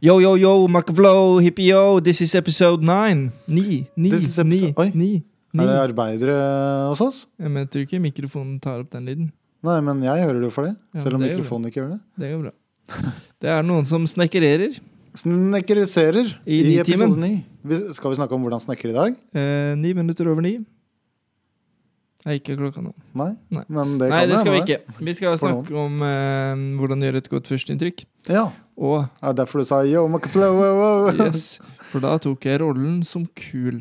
Yo, yo, yo, Macaflow, hippie-yo, this is episode 9. Ni, ni, This is episode- ni, Oi. ni, ni. Er det arbeidere eh, hos oss? Ja, men jeg tror ikke mikrofonen tar opp den lyden. Nei, men jeg hører det for det. Ja, selv om det gjør mikrofonen ikke gjør det. Det er jo bra. Det er noen som snekkererer. Snekkerserer I Nitimen. i, episode 9. Vi, skal vi snakke om hvordan snekker i dag? Eh, ni minutter over ni. Er ikke klokka nå. Nei. Nei. Men det Nei, det kan jeg, skal vi må jeg. ikke. Vi skal For snakke om eh, hvordan gjøre et godt førsteinntrykk. Ja. Og Er det derfor du sa yo, Macaflow, wow, wow. yes, for da tok jeg rollen som kul.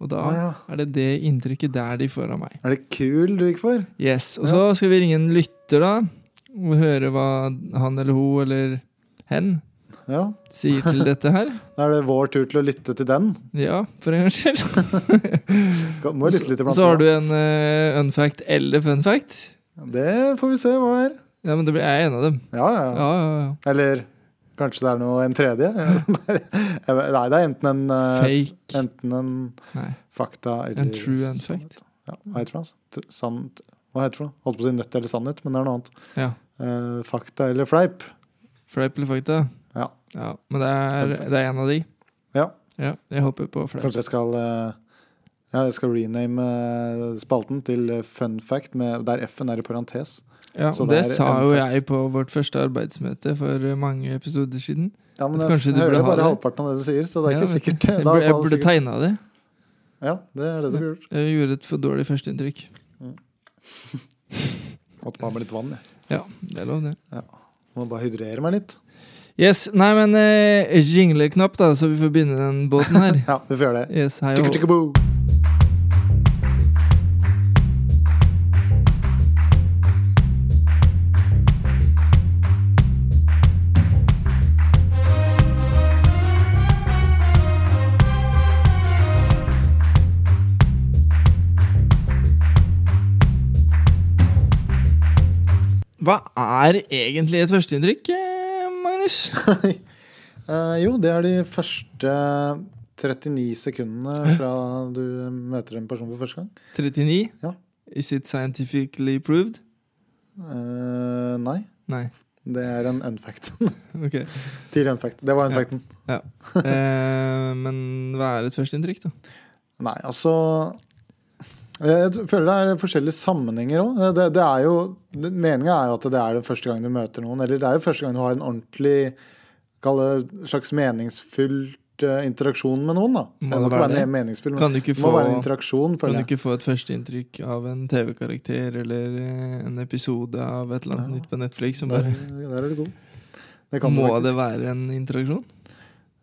Og da Å, ja. er det det inntrykket der de får av meg. Er det kul du gikk for? Yes, Og så skal vi ringe en lytter, da. Og høre hva han eller hun eller hen Ja. sier til dette her. Da er det vår tur til å lytte til den. Ja, for en gangs skyld. Ga- Må lytte litt iblant. Så har du en eh, unfact eller fun fact. Det får vi se hva er. Ja, men da blir jeg en av dem. Ja, ja. Ja, ja. ja, ja. Eller kanskje det er noe, en tredje? Nei, jeg vet- nei, det er enten en eh, Fake. Enten en sånn Nei. fakta eller En true and sannhet. fact. Ja, hva heter det? altså? Tr- Sant Hva heter det? Holdt på å si nødt eller sannhet, men det er noe annet. Ja. Eh, fakta eller fleip. Fleip eller fakta? Ja. ja. Men det er, det er en av de. Ja. ja jeg håper på fleip. Kanskje jeg skal eh, ja, jeg skal rename eh, spalten til eh, fun fact, med, der F-en er i parentes. Ja, Så og det det, er sa en jo fact. jeg på vårt første arbeidsmøte for eh, mange episoder siden. Ja, men At jeg, kanskje du jeg burde hører ha bare det. halvparten av det du sier, så det er Ja, ikke vet sikkert. Jeg Da burde, sa jeg du burde sikkert- tegna det. Ja, det er det du burde gjort. Jeg gjorde et for dårlig førsteinntrykk. Måtte bare ha med litt vann, jeg. Ja, det er lov, det. Må bare hydrere meg litt. Yes, Nei, men eh, jingleknapp, da, så vi får begynne den båten her. Ja, vi får gjøre det. Yes, hei og Tikker, hå. tikker, boo. Hva er egentlig et førsteinntrykk, eh, Magnus? Eh, jo, det er de første 39 sekundene fra du møter en person for første gang. 39? Ja. Is it scientifically proved? Eh, nei, Nei. det er en unfact. Ok. Tidlig unfact. Det var Ja. unfacten. Eh, men hva er et førsteinntrykk, da? Nei, altså Jeg t- føler det er forskjellige sammenhenger òg. Det, det er jo Meninga er jo at det er den første gangen du møter noen, eller det er jo første gang du har en ordentlig Kall det slags meningsfylt eh, interaksjon med noen, da. Må det må det ikke være være det? meningsfylt, men Kan du ikke det må få, være en interaksjon, kan føler du jeg. ikke få et førsteinntrykk av en TV-karakter eller eh, en episode av et eller annet Ja. nytt på Netflix som Der, bare der er du god. Det kan du Må faktisk. det være en interaksjon?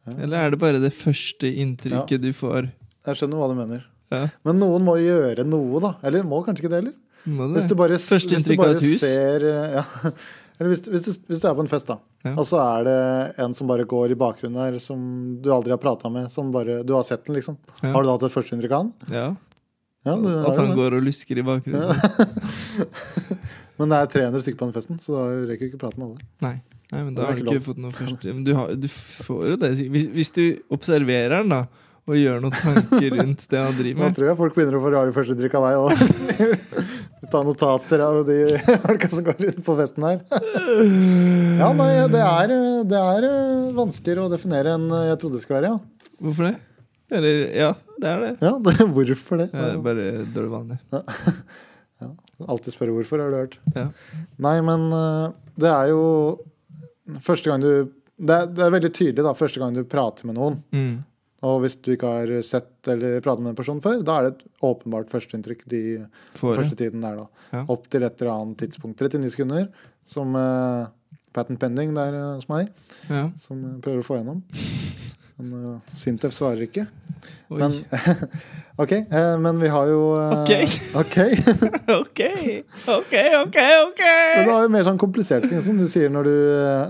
Ja. Eller er det bare det første inntrykket du får? Jeg skjønner hva du mener. Ja. Men noen må gjøre noe, da. Eller må kanskje ikke det heller. Må det? Hvis du bare, Første hvis du inntrykk av bare et hus. ser eh, ja. Eller hvis, hvis, du, hvis du er på en fest, da, Ja. og så er det en som bare går i bakgrunnen her, som du aldri har prata med, som bare Du har sett den, liksom. Ja. Har du da hatt et førsteinntrykk av han? ja. Ja, du At har han jo det. går og lusker i bakgrunnen? Men det er 300 stykker på den festen, så da rekker du ikke prate med alle. Nei. Nei, men Det er da har du ikke ikke fått noe først. Men du, har, du får jo det. Hvis, hvis du observerer den, da, og gjør noen tanker rundt det han driver Da med tror jeg folk begynner å få rare førsteinntrykk av deg òg. Ta notater av de folka som går rundt på festen her. Ja, nei, det er, det er eh, vanskeligere å definere enn jeg trodde det skulle være, ja. Hvorfor det? Eller, ja, det er det. Ja, det, hvorfor det? Ja, det er bare dårlig vane. Alltid spørre hvorfor, har du hørt. Ja. Nei, men eh, det er jo første gang du det er, det er veldig tydelig da, første gang du prater med noen. Mm. Og hvis du ikke har sett eller pratet med en person før, da er det et åpenbart førsteinntrykk de Får det. første tiden der, da. Ja. Opp til et eller annet tidspunkt. 39 sekunder, som eh, patent pending der eh, hos meg, Ja. som jeg prøver å få gjennom. Men eh, Sintef svarer ikke. Oi. Men OK, eh, men vi har jo eh, ok. OK, OK, OK. ok Men det er jo mer sånn kompliserte ting som du sier når du,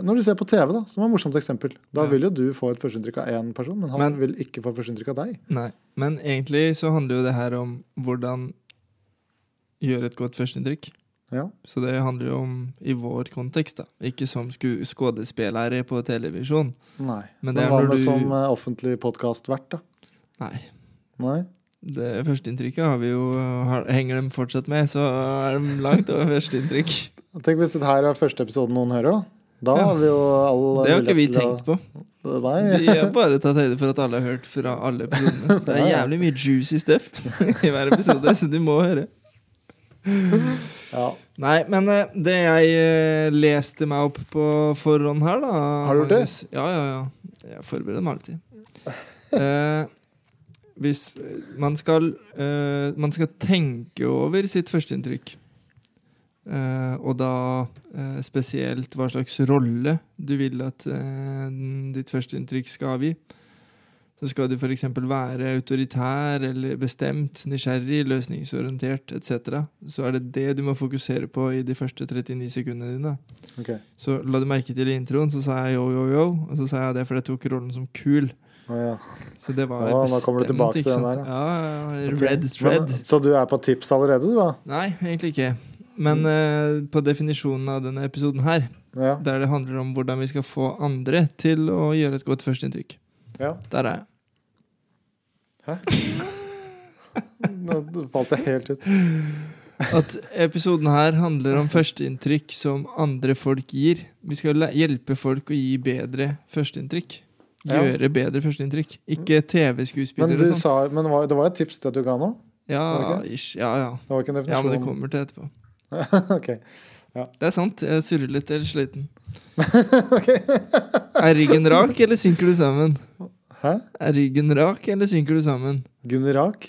når du ser på TV, da, som er et morsomt eksempel. Da Ja. vil jo du få et førsteinntrykk av én person, men han Men- vil ikke få førsteinntrykk av deg. Nei, men egentlig så handler jo det her om hvordan gjøre et godt førsteinntrykk. Ja. Så det handler jo om i vår kontekst, da. Ikke som sku- skuespillere på televisjon. Nei. Men Men, det er hva når med du- som eh, offentlig podkastvert, da? Nei. Nei? Det førsteinntrykket har vi jo har, Henger dem fortsatt med, så er de langt over førsteinntrykk. Tenk hvis dette her er første episoden noen hører, da. Da har vi jo all Det har ikke vi mulighet til å- tenkt på. Nei. Vi har bare tatt høyde for at alle har hørt fra alle episodene. Det er jævlig mye juicy stuff i hver episode, så du må høre. Ja. Nei, men eh, det jeg eh, leste meg opp på forhånd her, da Har du gjort det? Magnus- Ja, ja, ja. Jeg forbereder meg alltid. Eh, hvis man skal eh, Man skal tenke over sitt førsteinntrykk. Eh, og da eh, spesielt hva slags rolle du vil at eh, ditt førsteinntrykk skal avgi. Så skal du f.eks. være autoritær eller bestemt, nysgjerrig, løsningsorientert etc. Så er det det du må fokusere på i de første 39 sekundene dine. Ok. Så la du merke til i introen, så sa jeg yo, yo, yo, og så sa jeg det fordi jeg tok rollen som kul. Å, ja. Så det var Ja, bestemt. da kommer du tilbake til ikke den sant? der, Ja, ja, ja. Ok. Red is red. Men, så du er på tips allerede, du, da? Nei, egentlig ikke. Mm. Men eh, på definisjonen av denne episoden her, Ja. der det handler om hvordan vi skal få andre til å gjøre et godt førsteinntrykk, ja. der er jeg. Nå falt jeg helt ut. At episoden her handler om førsteinntrykk som andre folk gir. Vi skal læ- hjelpe folk å gi bedre førsteinntrykk. Ja. Mm. Gjøre bedre førsteinntrykk. Ikke Men, TV-skuespillere du og sånn. sa, men var, det var et tips det du ga nå? Ja, var ish, ja, ja. Det var ikke en ja, men det definisjon? kommer til etterpå. Ok. Det er sant. Jeg surrer litt eller sliten. Ok. Er ryggen rak, eller synker du sammen? Hæ? Er ryggen rak, eller synker du sammen? Gunnerak?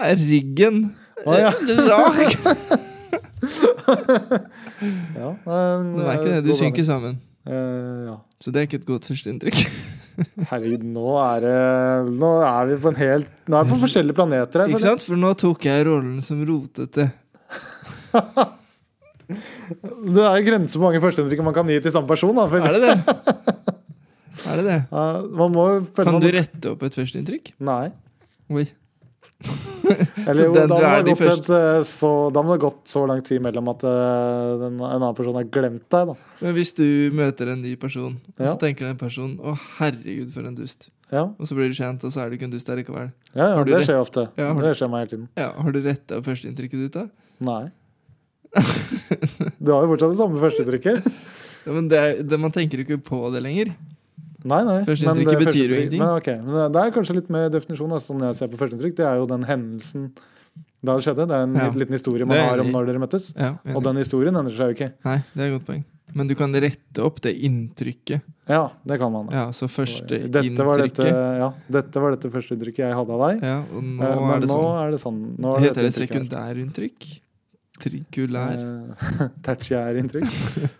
Er ryggen Å, ja. eh, rak? Ja. eh, Men det er ikke det. Du synker sammen. ja. Så det er ikke et godt førsteinntrykk. Herregud, nå er det Nå er vi på en helt Nå er vi på forskjellige planeter her. Ikke sant? For nå tok jeg rollen som rotete. føler jeg. Det er jo grenser for hvor mange førsteinntrykk man kan gi til samme person. Da, føler jeg. Er det det? Er det det? Ja, man må jo føle Kan man- du rette opp et førsteinntrykk? Nei. Oi. Eller jo, da den må, du er det de gått et, eh, så, da må det gått så lang tid mellom at eh, den, en annen person har glemt deg, da. Men hvis du møter en ny person, og så Ja. tenker den personen 'Å, herregud, for en dust', Ja, og så blir du kjent, og så er du ikke en dust likevel. ja, ja Har du det det? skjer jo ofte. Ja, har du- det skjer meg hele tiden. Ja, har du retta opp førsteinntrykket ditt, da? Nei. Du har jo fortsatt det samme førsteinntrykket. Ja, men det er, det, Man tenker ikke på det lenger. Nei, nei. Førsteinntrykket men det betyr jo førsteinntrykk- ingenting. Men, ok, men det- det er kanskje litt mer definisjon, da, sånn jeg ser på førsteinntrykk. Det er jo den hendelsen da det skjedde. Det er en Ja. liten historie Det man er jeg har om enig i. når dere møttes. Ja, enig. Og den historien endrer seg jo ikke. Nei, det er et godt poeng. Men du kan rette opp det inntrykket. Ja, det kan man. da. Ja, Så første Dette var dette, inntrykket. ja, dette var dette førsteinntrykket jeg hadde av deg. Ja, og nå Eh, men er det nå sånn. er det sånn. Nå er Heter det dette inntrykket her. sekundærinntrykk? Trikulær? Eh, Tertiærinntrykk.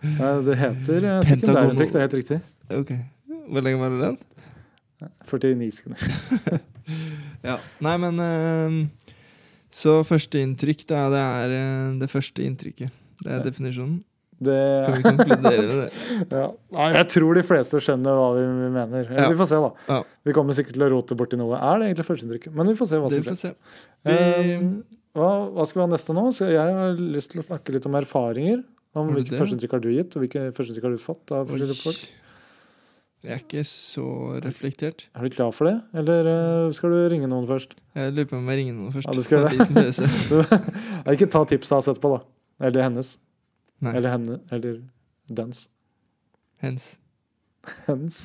Eh, det heter eh, Pentagonal. sekundærinntrykk, det er helt riktig. Ok. Hvor lenge var det den? 49 sekunder. Ja, nei, men eh, Så førsteinntrykk, da. Det er eh, det første inntrykket. Det er definisjonen. Det, Kan vi konkludere med det? ja. Nei, jeg tror de fleste skjønner hva vi mener. Eller, Ja. Vi får se, da. Ja. Vi kommer sikkert til å rote borti noe. Er det egentlig førsteinntrykk? Men vi får se hva Det som vi Ehm, får blir. se. Vi, Eh, hva, hva skal vi ha neste nå? Så jeg har lyst til å snakke litt om erfaringer. Om Har du hvilke det? førsteinntrykk har du gitt, og hvilke førsteinntrykk har du fått av Oi. forskjellige folk. Jeg er ikke så reflektert. Er du klar for det, eller eh, skal du ringe noen først? Jeg lurer på om jeg ringer noen først. Ja, du skal Få en liten pause. Nei, Ikke ta tipset hans etterpå, da. Eller hennes. Nei. Eller henne. Eller dens. Hens. Hens.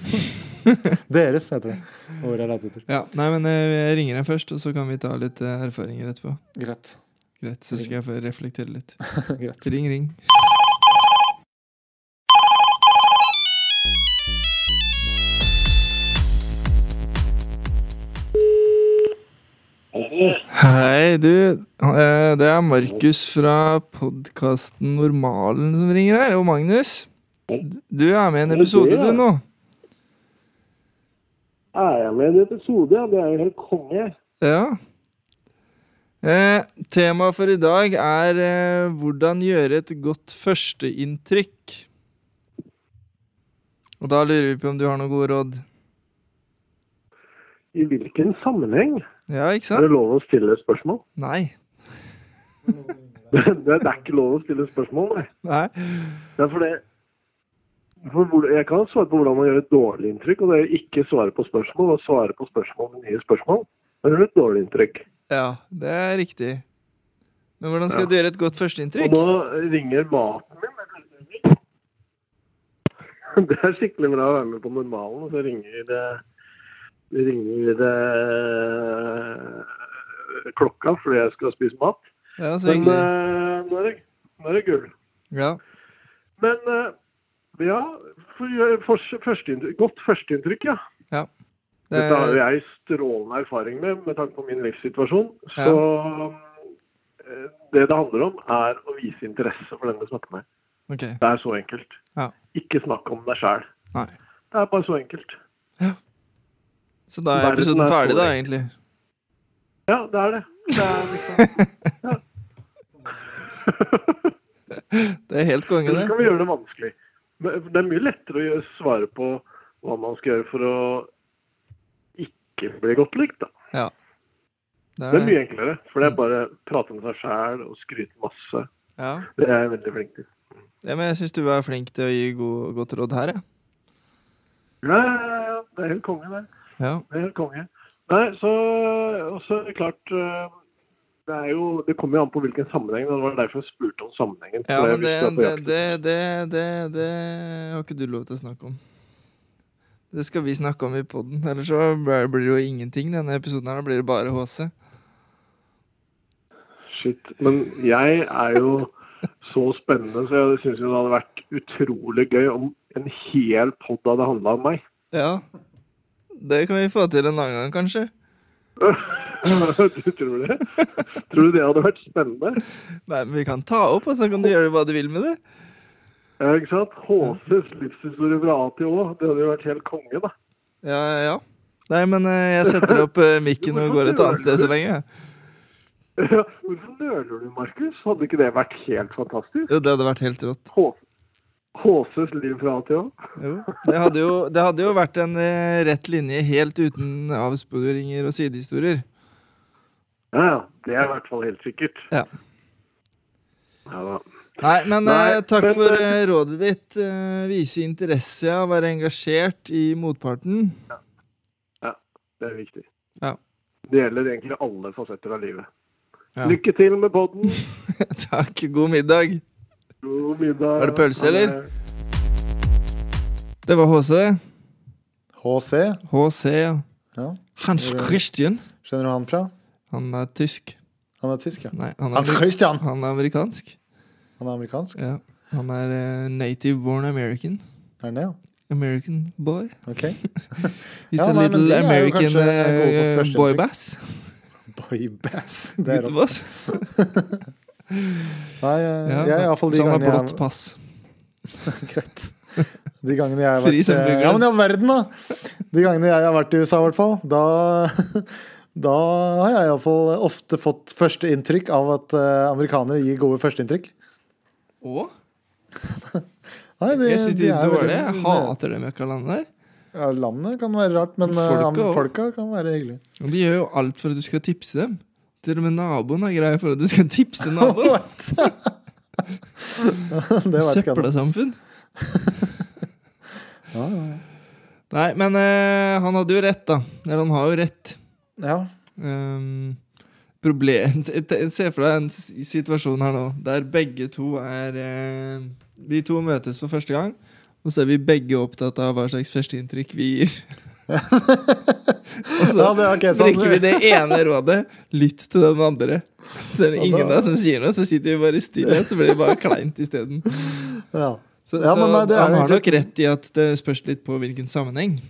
Deres, heter det. Ordet jeg leter etter. Ja, nei, men eh, jeg ringer deg først, og så kan vi ta litt eh, erfaringer etterpå. Greit. Greit, så skal jeg få reflektere litt. Greit. Ring, ring. Hei, du. Eh, Det er Markus fra podkasten Normalen som ringer her, og Magnus. Du er med i en Er det episode, det, ja? du, nå. Er jeg med i en episode? Ja, det er jo helt konge. Ja. Eh, Temaet for i dag er eh, hvordan gjøre et godt førsteinntrykk. Og da lurer vi på om du har noen gode råd. I hvilken sammenheng? Ja, ikke Er sant? det lov å stille spørsmål? Nei. Det, det er ikke lov å stille spørsmål, nei. Nei. Det er fordi for hvor- Jeg kan svare på hvordan man gjør et dårlig inntrykk, og det er jo ikke svare på spørsmål. Og svare på spørsmål med nye spørsmål. Da gjør du et dårlig inntrykk. Ja, det er riktig. Men hvordan skal Ja. du gjøre et godt førsteinntrykk? Og nå ringer maten min. det er skikkelig bra å være med på normalen, og så ringer det, ringer det klokka fordi jeg skal spise mat. Ja, så Men hyggelig. eh, nå er det, nå er det gull. Ja. Men eh, ja, for, for, førsteinntrykk- godt førsteinntrykk, ja. ja. Det, Dette har jo jeg strålende erfaring med, med tanke på min livssituasjon. Så eh, det det handler om, er å vise interesse for den du snakker med. ok. Det er så enkelt. Ja. Ikke snakk om deg sjæl. Nei. Det er bare så enkelt. Så da er Verden episoden er ferdig, da, stor. egentlig. Ja, det er det. Det er liksom, ja. Det er helt konge, Så det. kan vi gjøre det vanskelig. Men det er mye lettere å gjøre- svare på hva man skal gjøre for å ikke bli godt likt, da. Ja. Det Det er er det. mye enklere, for Mm. det er bare å prate med seg sjæl og skryte masse. Ja. Det er jeg veldig flink til. ja, men jeg syns du er flink til å gi god, godt råd her, jeg. Ja, ja, ja, det er helt konge, det. Ja. Det er helt konge. Nei, så Og så er det klart eh, Det er jo Det kommer jo an på hvilken sammenheng. og Det var derfor jeg spurte om sammenhengen. Ja, for men det, jeg visste at det, det, jeg- det, det, det har ikke du lov til å snakke om. Det skal vi snakke om i poden. Ellers så blir blir det jo ingenting. Denne episoden her da blir det bare HC. Shit. Men jeg er jo så spennende, så jeg syns det hadde vært utrolig gøy om en hel pod hadde handla om meg. Ja. Det kan vi få til en annen gang, kanskje. du tror det? Tror du det hadde vært spennende? Nei, men Vi kan ta opp, og så kan du gjøre hva du vil med det. Ja, ikke sant? HCs livshistorie fra A til Å. Det hadde jo vært helt konge, da. Ja, ja, ja. Nei, men eh, jeg setter opp eh, mikken og går et annet sted så lenge. jeg. Ja, Hvorfor nøler du, Markus? Hadde ikke det vært helt fantastisk? Jo, det hadde vært helt rått. H- HCs liv fra A til Å. Jo. Det, hadde jo, det hadde jo vært en eh, rett linje helt uten avsporinger og sidehistorier. Ja, ja. Det er i hvert fall helt sikkert. Ja. Ja da. Nei, men Nei, eh, takk men, for eh, eh, rådet ditt. Eh, vise interesse og være engasjert i motparten. Det er viktig. Ja. Det gjelder egentlig alle fasetter av livet. Ja. Lykke til med podden. takk. God middag. God middag. Er det pølse, Ha det. eller? Det var HC. HC, HC. ja. ja. Hans Christian. skjønner du han fra? Han er tysk. Han er tysk, ja. Nei, han Hans er, Christian! han er amerikansk. Han er amerikansk? Ja. Han er eh, native born American. Er han det, ja? American boy. Ok. He's Ja, a nei, men little det er jo American kanskje- jeg går for eh, første boy inntrykk. bass. Boy bass. Det er rått. Guttebass. Nei, eh, Ja, jeg, i hvert fall de så han har gangene jeg blått pass. Greit. De gangene jeg har Fri vært eh, som fugl. Ja, men i all verden, da! De gangene jeg har vært i USA, i hvert fall, da da har jeg iallfall ofte fått førsteinntrykk av at eh, amerikanere gir gode førsteinntrykk. Å? Nei, de, Jeg syns de er veldig- dårlige. Jeg hater dem jeg kaller der. Ja, landet kan være rart, men eh, Folka am- også. folka kan være hyggelige. Og de gjør jo alt for at du skal tipse dem. Til og med naboen er grei for at du skal tipse naboen. Det vet ikke jeg. Søppelsamfunn. Ja, ja. Nei, men eh, han hadde jo rett, da. Eller han har jo rett. ja. Um, problem t- t- Se for deg en s- situasjon her nå der begge to er eh, Vi to møtes for første gang, og så er vi begge opptatt av hva slags førsteinntrykk vi gir. og så ja, det er ok. Sånn. drikker vi det ene rådet, lytt til den andre. Så er det ingen da som sier noe, så sitter vi bare i stillhet, så blir det bare kleint isteden. Ja. Så, Ja, så men nei, det er han jo har egentlig- nok rett i at det spørs litt på hvilken sammenheng.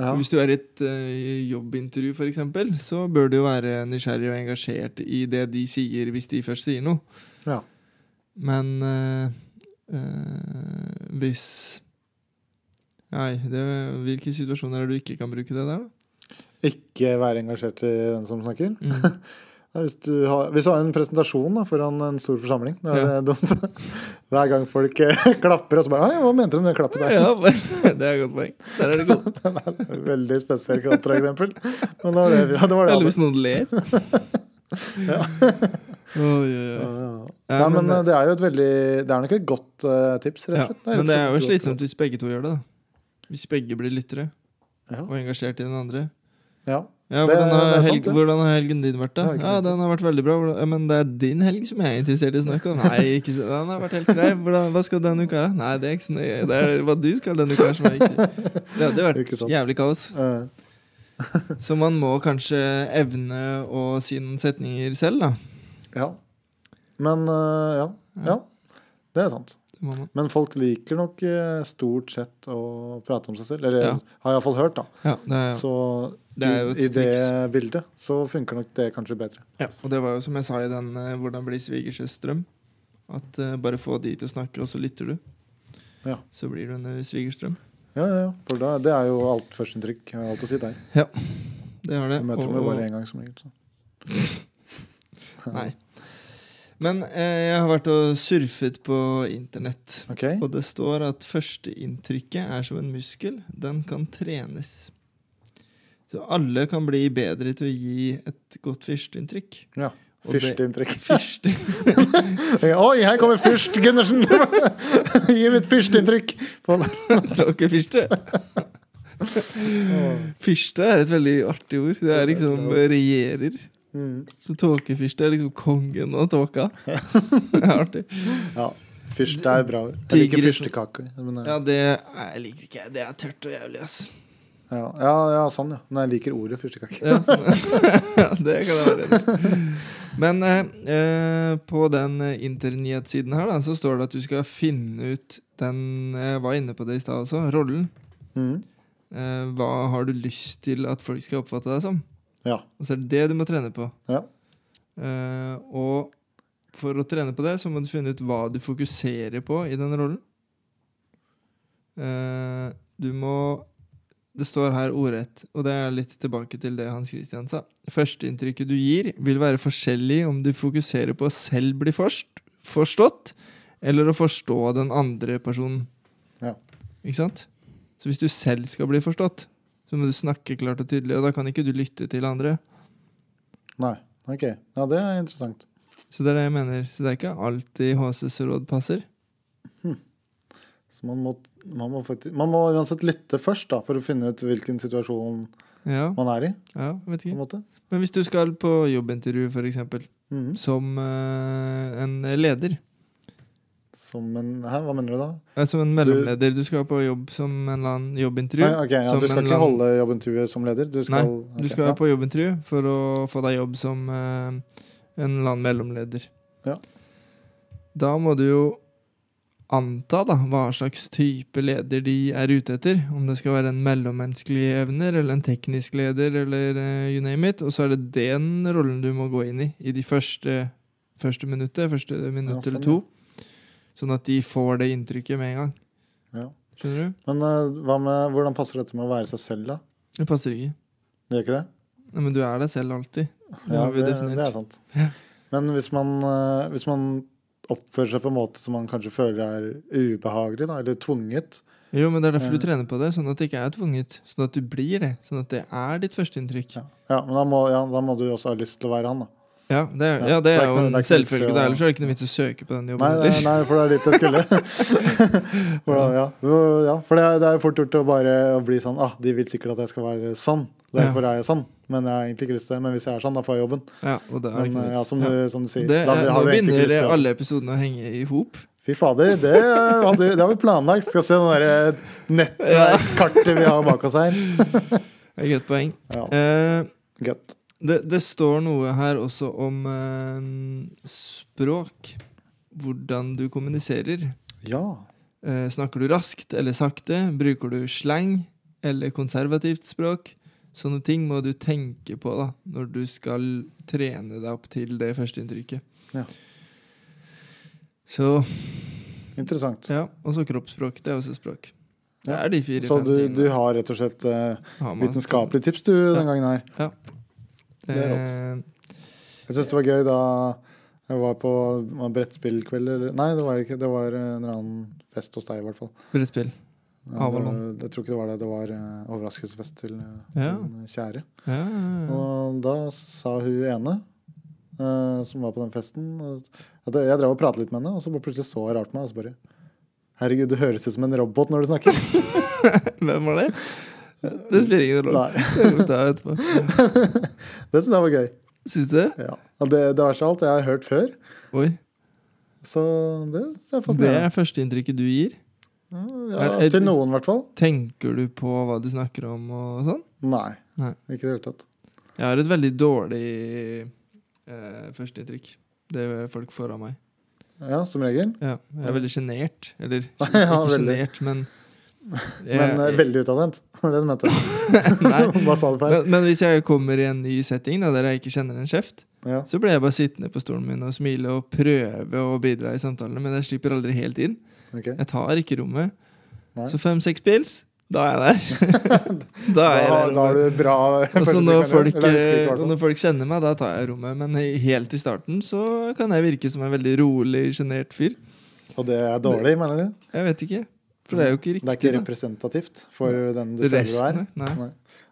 Ja. Hvis du er i et eh, jobbintervju, for eksempel, så bør du jo være nysgjerrig og engasjert i det de sier, hvis de først sier noe. Ja. Men eh, eh, hvis Nei, det, hvilke situasjoner er det du ikke kan bruke det der, da? Ikke være engasjert i den som snakker. Mm. Ja, Hvis du, har, hvis du har en presentasjon da, foran en stor forsamling, da er Ja. det dumt. Hver gang folk eh, klapper, og så bare Oi, hva mente du med det klappet der? Ja, det er et godt poeng. Der er det godt. Veldig spesiell kontraeksempel. Men det var det vi ja, det var Eller det. alle- hvis noen ler. Oi, oi, oi. Ja, ja. Ja, Nei, men- men eh, det er jo et veldig Det er nok et godt eh, tips, rett Ja, og slett. men det er jo et godt- slitsomt hvis begge to gjør det. da Hvis begge blir lyttere Ja. og engasjert i den andre. Ja. Ja, Det- hvordan, det har er sant, helg, det. hvordan har helgen din vært, da? Det er ikke Ja, sant. Den har vært veldig bra. Hvordan- Ja, Men det er din helg som jeg er interessert i å snakke om. Nei, ikke, så- den har vært helt grei. Hvordan, hva skal denne uka her? Nei, det er ikke så nøye. Det er hva du skal denne uka her som er viktig. Det hadde jo Ikke vært sant. jævlig kaos. Eh, Så man må kanskje evne å si noen setninger selv, da. ja. Men eh, ja. ja. Det er sant. Det må man. Men folk liker nok eh, stort sett å prate om seg selv. Eller Ja. har jeg iallfall hørt, da. Ja, det er, Så Det er jo i, et i det bildet så funker nok det kanskje bedre. ja. Og det var jo som jeg sa i den eh, 'Hvordan bli svigersøs drøm'. At eh, bare få de til å snakke, og så lytter du. Ja. Så blir du en eh, svigers drøm. Ja, ja, ja. For da, det er jo alt førsteinntrykk. Jeg har alt å si der. Det har det. Jeg møter Og- dem jo og- bare én gang, som regel. Så. Nei. Men eh, jeg har vært og surfet på internett. Ok. Og det står at førsteinntrykket er som en muskel. Den kan trenes. Så alle kan bli bedre til å gi et godt førsteinntrykk. Ja. Og det- Førsteinntrykk. Første- Oi, her kommer Fyrst Gundersen! Gi mitt førsteinntrykk! På- Det var ikke fyrste. Fyrste er et veldig artig ord. Det er liksom regjerer. Mm. Så tåkefyrste er liksom kongen av tåka. Det er artig. Ja. Fyrst er bra ord. Jeg liker Digre- fyrstekake. Men, eh, Ja, ja. det nei, jeg liker ikke. Det er tørt og jævlig, ass. Ja, ja, sånn, ja. Men jeg liker ordet fyrstekake. Ja, sånn. ja, det kan jeg være enig i. Men eh, eh, på den eh, internyhetssiden her da, så står det at du skal finne ut den eh, Jeg var inne på det i stad også. Rollen. Mm. Eh, hva har du lyst til at folk skal oppfatte deg som? Ja. Og så er det det du må trene på. Ja. Eh, og for å trene på det, så må du finne ut hva du fokuserer på i den rollen. Eh, du må Det står her ordrett, og det er litt tilbake til det Hans Christian sa. Førsteinntrykket du gir, vil være forskjellig om du fokuserer på å selv bli forst, forstått, eller å forstå den andre personen. Ja. Ikke sant? Så hvis du selv skal bli forstått, så må du snakke klart og tydelig, og da kan ikke du lytte til andre. Nei. Ok. Ja, det er interessant. Så det er det jeg mener. Så det er ikke alltid HCs råd passer. Så man må, man, må faktisk, man må uansett lytte først da, for å finne ut hvilken situasjon Ja, man er i. ja, vet på ikke. en måte. Men hvis du skal på jobbintervju, for eksempel, Mhm. som eh, en leder Som en Hæ, hva mener du da? eh, Som en mellomleder. Du skal på jobb som en eller annen jobbintervju. Nei, ok, ja, som du skal en ikke eller annen- holde jobbintervjuet som leder? Du skal, Du ok, skal ja. på jobbintervju for å få deg jobb som eh, en eller annen mellomleder. Ja. Da må du jo anta da, hva slags type leder de er ute etter. Om det skal være en mellommenneskelig evner eller en teknisk leder eller eh, you name it. Og så er det den rollen du må gå inn i i de første, første minuttet, første minutt Ja, sånn, eller to. Sånn at de får det inntrykket med en gang. Ja. Skjønner du? Men eh, hva med, hvordan passer dette med å være seg selv, da? Det passer ikke. Det gjør ikke det? Nei, Men du er deg selv alltid. Det Ja, har vi det, definert. det er sant. Ja. Men hvis man, eh, hvis man oppfører seg på en måte som man kanskje føler er ubehagelig, da, eller tvunget Jo, men det er derfor du Eh. trener på det, sånn at det ikke er tvunget. Sånn at du blir det. Sånn at det er ditt førsteinntrykk. ja, ja, men da må, ja, da må du også ha lyst til å være han, da. Ja, det er, Ja, ja, det det er er ikke jo noe- en det er ikke noe vits i selvfølge. å- Det er ellers er det ikke noe vits å søke på den jobben. Nei, nei, heller. nei, for det er dit jeg skulle. Hvordan, ja. Jo, ja. For det er, det er jo fort gjort å bare bli sånn ah, De vil sikkert at jeg skal være sånn, derfor er jeg sånn. Men jeg har egentlig ikke lyst til det. Men hvis jeg er sånn, da får jeg jobben. Ja, og det er Men ikke eh, ja, som, noe du, vits. som du Ja. sier, Det da er- har Nå du egentlig ikke lyst begynner til å alle episodene å henge i hop. Fy fader, det, hadde, vi- det har vi planlagt. Skal se det der nettverkskartet vi har bak oss her. Det er et godt poeng. Ja, Eh, Gøtt. det, det står noe her også om eh, språk. Hvordan du kommuniserer. Ja. Eh, snakker du raskt eller sakte? Bruker du slang eller konservativt språk? Sånne ting må du tenke på da, når du skal trene deg opp til det førsteinntrykket. Ja. Så Interessant. Ja, og så kroppsspråk. Det er også språk. Det Ja. er de fire Så fem du, tingene du har rett og slett eh, har man. vitenskapelige tips du den gangen her. det er Eh, Jeg syns det var gøy da jeg var på var det brettspillkveld eller Nei, det var ikke det var en eller annen fest hos deg, i hvert fall. Brettspill. Men Avalon. det- Jeg tror ikke det var det. Det var eh, overraskelsesfest til eh, Ja. min kjære. Ja, ja, ja. Og da sa hun ene eh, som var på den festen at Jeg drev og pratet litt med henne, og så bare plutselig så hun rart på meg. Og så bare Herregud, du høres ut som en robot når du snakker. Hvem var det? Det spiller ingen rolle. Nei. Det tar jeg etterpå. Det syns jeg var gøy. Syns du det? Ja. Og Det, det verste av alt, jeg har hørt før, Oi. så det syns jeg er Det fascinerende. er førsteinntrykket du gir. Ja, er- til noen, i hvert fall. Tenker du på hva du snakker om og sånn? Nei. Nei. Ikke i det hele tatt. Jeg har et veldig dårlig eh, førsteinntrykk. Det folk får av meg. Ja, som regel. Ja, jeg er veldig sjenert. Eller Ja, ikke veldig. sjenert, men Men eh, veldig utadvendt, var det du mente. Nei. Hva sa du feil? Men, men hvis jeg kommer i en ny setting da, der jeg ikke kjenner en kjeft, Ja. så blir jeg bare sittende på stolen min og smile og prøve å bidra i samtalene, men jeg slipper aldri helt inn. ok. Jeg tar ikke rommet. Nei. Så fem-seks pils, da er jeg der. da Da, er jeg der. da har rommet. du bra Og så første Altså, når trykk, folk, eller? Eller husker ikke, i hvert eh, fall. når folk kjenner meg, da tar jeg rommet. Men i- helt i starten så kan jeg virke som en veldig rolig, sjenert fyr. Og det er dårlig, mener du? Jeg vet ikke. For det er jo ikke Det er ikke riktig. da. representativt for den du føler du er? Resten, nei. Nei.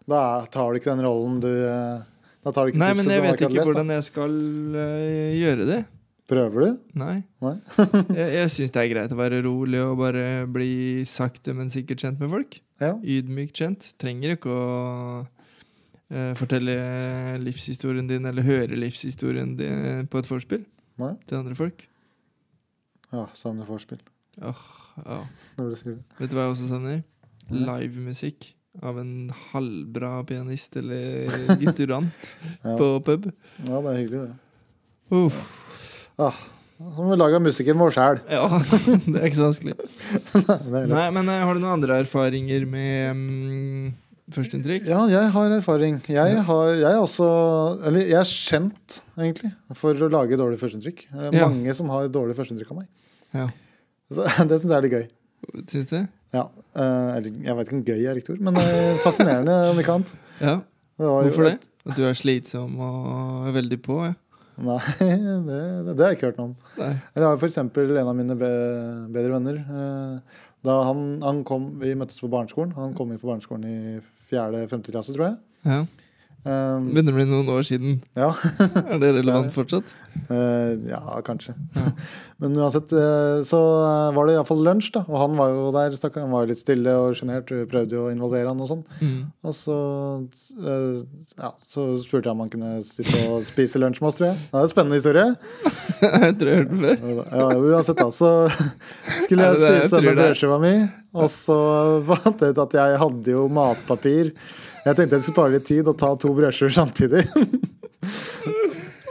Da er- tar du ikke den rollen du eh, Da tar du ikke Nei, men jeg tipset du har vet ikke ikke lest. da. hvordan jeg skal øh, gjøre det. Prøver du? Nei. Nei. jeg jeg syns det er greit å være rolig og bare bli sakte, men sikkert kjent med folk. Ja. Ydmykt kjent. Trenger ikke å øh, fortelle livshistorien din eller høre livshistorien din på et vorspiel Nei. til andre folk. Ja, sånn savner vorspiel. Ja. Når du sier det. Vet du hva jeg også savner? Nei. Livemusikk av en halvbra pianist eller gutturant Ja. på pub. ja, det er hyggelig, det. Uff. Så må vi lage musikken vår sjæl. Ja, det er ikke så vanskelig. Det er lett. Nei, men eh, har du noen andre erfaringer med mm, førsteinntrykk? Ja, jeg har erfaring. Jeg, har, jeg er også Eller jeg er kjent, egentlig, for å lage dårlig førsteinntrykk. Det er Ja. mange som har dårlig førsteinntrykk av meg. Ja. Så, det syns jeg er litt gøy. Syns du? Ja, eh, eller jeg vet ikke om gøy er riktig ord, men eh, fascinerende om ikke annet. Ja. Det var jo Hvorfor det? et- At du er slitsom og er veldig på? Ja. Nei, det, det, det har jeg ikke hørt noe om. Nei. Eller jeg har f.eks. en av mine be, bedre venner. eh, Da han, han kom, Vi møttes på barneskolen. Han kom inn på barneskolen i fjerde-femte klasse, tror jeg. Ja. Eh, Begynner å bli noen år siden. ja. Er det relevant fortsatt? Eh, ja, kanskje. Men uansett, eh, så eh, var det iallfall lunsj, da. Og han var jo der, stakkar. Han var jo litt stille og sjenert. Vi Prøvde jo å involvere han og sånn. Mm. Og så, eh, ja, så spurte jeg om han kunne sitte og spise lunsj med oss, tror jeg. Det er en spennende historie. jeg tror jeg har hørt den før. Ja, uansett, da, så skulle Ja, jeg det er- jeg spise denne tror det er. brødskiva mi, og så fant jeg ut at jeg hadde jo matpapir. Jeg tenkte jeg skulle spare litt tid og ta to brødskiver samtidig.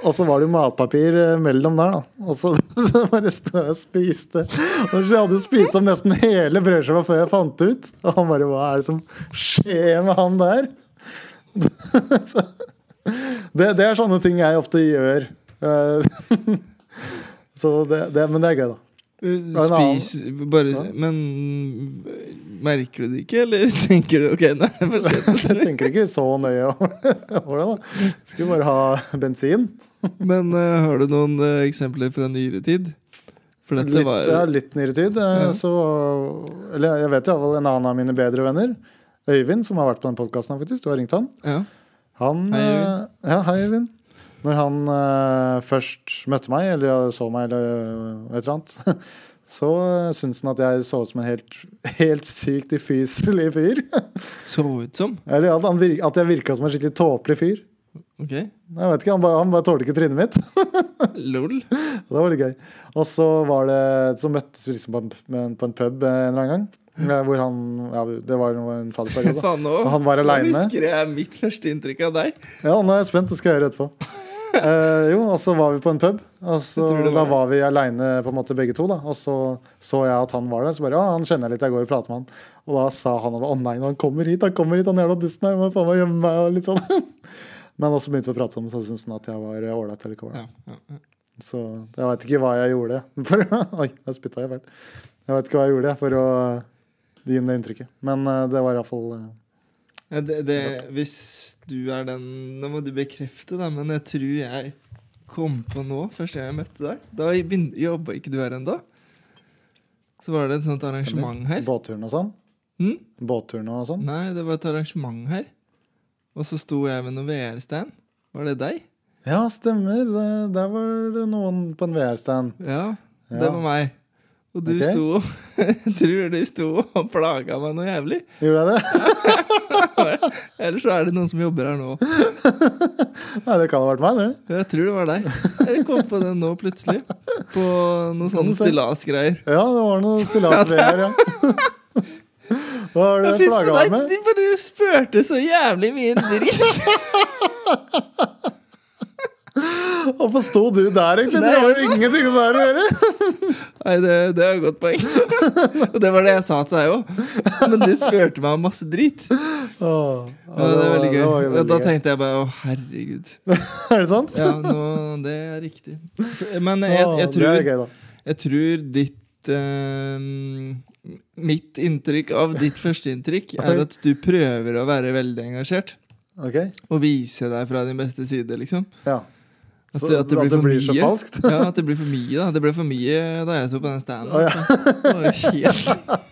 Og så var det jo matpapir eh, mellom der, da. Og så, så bare sto jeg og spiste. Og så hadde jeg spist opp nesten hele brødskiva før jeg fant det ut. Og han bare Hva er det som skjer med han der? Så, det, det er sånne ting jeg ofte gjør. Eh, Så det, det, men det er gøy, da. er en annen. Spis bare Men merker du det ikke, eller tenker du OK, nei, for sent. Jeg tenker ikke så nøye over over det. da Skulle bare ha bensin. Men eh, har du noen eh, eksempler fra nyere tid? For dette Litt, ja, var litt nyere tid. eh, Ja. Så, eller jeg vet jo iallfall en annen av mine bedre venner, Øyvind, som har vært på den podkasten faktisk. Du har ringt han. Ja. han Hei, Øyvind. eh, Ja, hei, Øyvind. Når han eh, først møtte meg, eller ja, så meg, eller et eller annet, så eh, syntes han at jeg så ut som en helt, helt sykt ufyselig fyr. Så ut som. Eller at, han vir- at jeg virka som en skikkelig tåpelig fyr. OK. Jeg vet ikke, Han bare, han bare tålte ikke trynet mitt. Lol. Så det var litt gøy. Og så var det Så møttes vi liksom på en, men på en pub eh, en eller annen gang. eh, Hvor han Ja, det var jo en fadderperiode. da. Faen nå. Og han var Nå aleine. husker jeg mitt første inntrykk av deg. Ja, nå er jeg spent. Det skal jeg gjøre etterpå. Eh, jo, og så var vi på en pub. Og så Jeg tror det var Da det. var vi aleine, på en måte, begge to. da Og så så jeg at han var der. Så bare, ja, han kjenner jeg litt, jeg går og prater med han. Og da sa han at å nei, han kommer hit, han kommer hit, han jævla dusten her. Må faen meg gjemme meg og litt sånn. Men også begynte vi å prate sammen, så syntes han at jeg var eh, ålreit eller ikke. ålreit. Ja, ja, ja. Så jeg veit ikke hva jeg gjorde for Oi, der spytta jeg fælt. Jeg veit ikke hva jeg gjorde for å gi ham det inntrykket. Men eh, det var iallfall Ja, Det, det, hvis du er den Nå må du bekrefte, da, men jeg tror jeg kom på nå, første gang jeg møtte deg Da begyn- jobba ikke du her ennå. Så var det et sånt arrangement her. båtturen og sånn. Mm? Båtturen og sånn. Nei, det var et arrangement her. Og så sto jeg ved noen VR-stand. Var det deg? Ja, stemmer. Det- Der var det noen på en VR-stand. Ja, det Ja. var meg. Og du Ok. sto Jeg tror du sto og plaga meg noe jævlig. Gjorde jeg det? Ellers så er det noen som jobber her nå. Nei, det kan ha vært meg, det. Jeg tror det var deg. Jeg kom på den nå plutselig. På noen sånne stillasgreier. Ja, det var noe stillas ved her, ja. Hva var det Fy jeg faen, plaga nei, deg med? de bare spurte så jævlig mye dritt. Hvorfor sto du der, egentlig? Det Nei, har jeg jo ingenting med det her å gjøre. Nei, det, det er et godt poeng. Og det var det jeg sa til deg òg. Men du spurte meg om masse dritt. Åh, ja, Ja, det er veldig gøy. det var jo Og da veldig gøy. tenkte jeg bare å, herregud. Er det sant? Ja, nå, det er riktig. Men jeg, Åh, jeg, Det er tror, gøy, da. jeg tror ditt eh, Mitt inntrykk av ditt førsteinntrykk er at du prøver å være veldig engasjert. Ok, Og vise deg fra din beste side, liksom. ja. At, Så det- at det blir for så mye. falskt? Ja, at det blir for mye, da. Det ble for mye da jeg så på den standen. liksom. Å, ja. Det var jo helt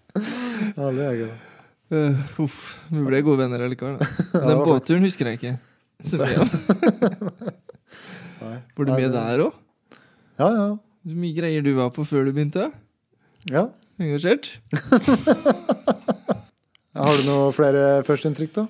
Ja, det er gøy, da. Øh, Uff. Vi ble gode venner allikevel, da. Ja, det Den var faktisk- båtturen husker jeg ikke så mye av. Nei. Var du Nei, med det- der òg? Ja, ja. Hvor mye greier du var på før du begynte? ja. Engasjert? Har du noe flere førsteinntrykk, da?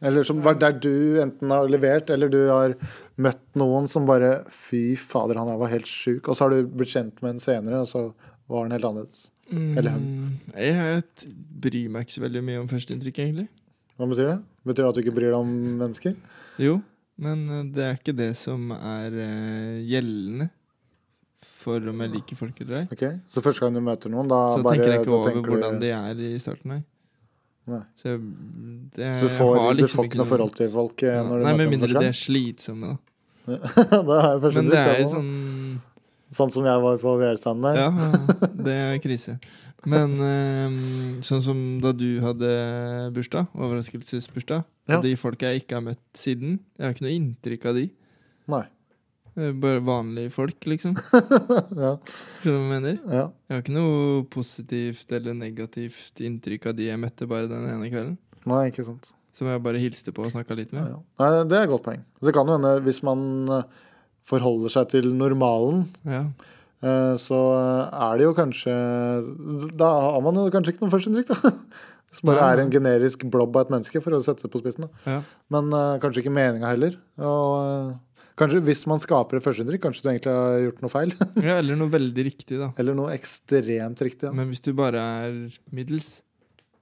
Eller som var der du enten har levert, eller du har møtt noen som bare Fy fader, han der var helt sjuk. Og så har du blitt kjent med en senere, og så var han helt annerledes. Eller Mm, jeg t- bryr meg ikke så veldig mye om førsteinntrykk, egentlig. Hva betyr det? Betyr det at du ikke bryr deg om mennesker? Jo, men øh, det er ikke det som er øh, gjeldende for om jeg liker folk eller ei. Ok, Så første gang du møter noen, da Så bare tenker jeg ikke da over tenker hvordan du, de er i starten, nei. Nei. Så jeg, det, du får, jeg har du liksom får ikke noe forhold til folk eh, Ja, når du Nei, med møter dem mindre de første gang? er slitsomme, da. da er det Men det førsteinntrykk. er jo sånn... sånn sånn som jeg var på VR-standen der. Ja, det er krise. Men eh, sånn som da du hadde bursdag, overraskelsesbursdag, Ja. og de folka jeg ikke har møtt siden Jeg har ikke noe inntrykk av de. Nei. Det er Bare vanlige folk, liksom. Ja, Skjønner du hva jeg mener? ja. Jeg har ikke noe positivt eller negativt inntrykk av de jeg møtte bare den ene kvelden. Nei, ikke sant. Som jeg bare hilste på og snakka litt med. Ja. Nei, det er et godt poeng. Det kan jo hende hvis man eh, forholder seg til normalen, Ja. eh, så er det jo kanskje Da har man jo kanskje ikke noe førsteinntrykk, da. Hvis man bare Nei, er nei. en generisk blobb av et menneske, for å sette det på spissen. Da. ja. Men eh, kanskje ikke meninga heller. Og eh, kanskje hvis man skaper et førsteinntrykk, kanskje du egentlig har gjort noe feil. Ja, eller noe veldig riktig, da. Eller noe ekstremt riktig. Ja. Men hvis du bare er middels,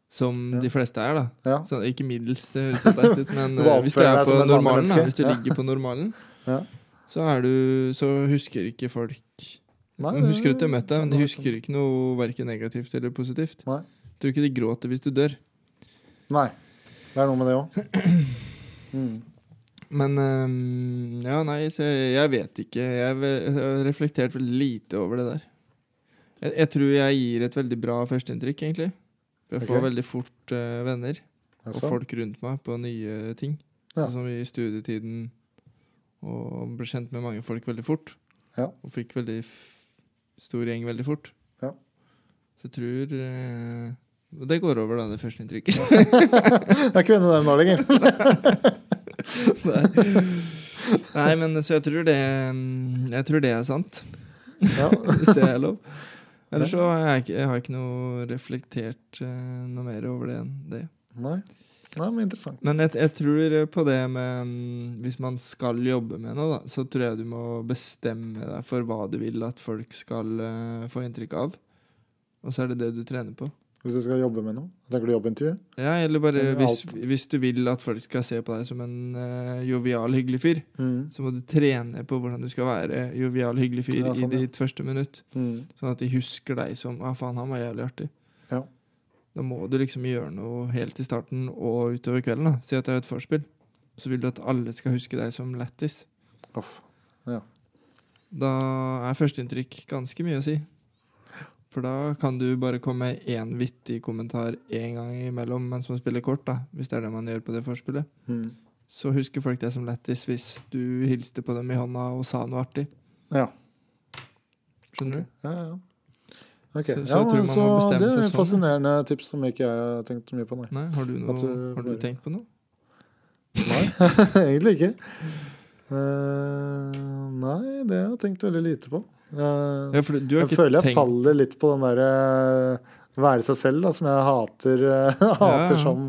som de fleste er, da Ja. så, Ikke middels, det høres så teit ut, men Du eh, hvis du oppfører er deg på som et vanlig normalen, da, menneske. hvis du Ja. ligger på normalen, Ja. så er du Så husker ikke folk Nei, De husker at du har møtt deg, men de det- sånn. husker ikke noe verken negativt eller positivt. Nei. Tror ikke de gråter hvis du dør. Nei. Det er noe med det òg. Mm. Men eh, Ja, nei, så jeg, jeg vet ikke. Jeg, ve- jeg har reflektert veldig lite over det der. Jeg, jeg tror jeg gir et veldig bra førsteinntrykk, egentlig. Jeg får Ok. veldig fort eh, venner. og Altså. folk rundt meg på nye ting. Ja. Sånn som i studietiden. Og ble kjent med mange folk veldig fort. Ja. Og fikk veldig f stor gjeng veldig fort. Ja. Så jeg tror eh, og Det går over, da, det første inntrykket. Jeg er ikke venn med dem nå lenger. Nei, men så jeg tror det mm, Jeg tror det er sant, Ja. hvis det er lov. Ellers så har jeg, ikke- jeg har ikke noe reflektert eh, noe mer over det enn det. Nei. Nei, men interessant. Men jeg, jeg tror eh, på det med mm, Hvis man skal jobbe med noe, da, så tror jeg du må bestemme deg for hva du vil at folk skal eh, få inntrykk av. Og så er det det du trener på. Hvis du skal jobbe med noe, tenker du jobbintervju? Ja, eller bare Eller hvis, alt. hvis du vil at folk skal se på deg som en eh, jovial, hyggelig fyr, Mm. så må du trene på hvordan du skal være jovial, hyggelig fyr Ja, sånn, i ja. ditt første minutt. Mm. Sånn at de husker deg som ah, faen, han var jævlig artig. Ja. Da må du liksom gjøre noe helt i starten og utover kvelden. da Si at det er et forspill. Så vil du at alle skal huske deg som lættis. Uff. Da er førsteinntrykk ganske mye å si. For da kan du bare komme med én vittig kommentar én gang imellom mens man spiller kort, da, hvis det er det man gjør på det forspillet. Mm. Så husker folk deg som lættis hvis du hilste på dem i hånda og sa noe artig. Ja. Skjønner du? Ja, ja. Ok. Så- så ja, jeg tror men man så må bestemme seg det er sånn, et ja. fascinerende tips som ikke jeg har tenkt så mye på, nei. Nei, har du, noe, At du har du bare- tenkt på noe? nei. Egentlig ikke. Eh, nei, det har jeg tenkt veldig lite på. Eh, Ja, for du har jeg ikke føler jeg tenkt faller litt på den derre være seg selv, da, som jeg hater, eh, Ja. hater som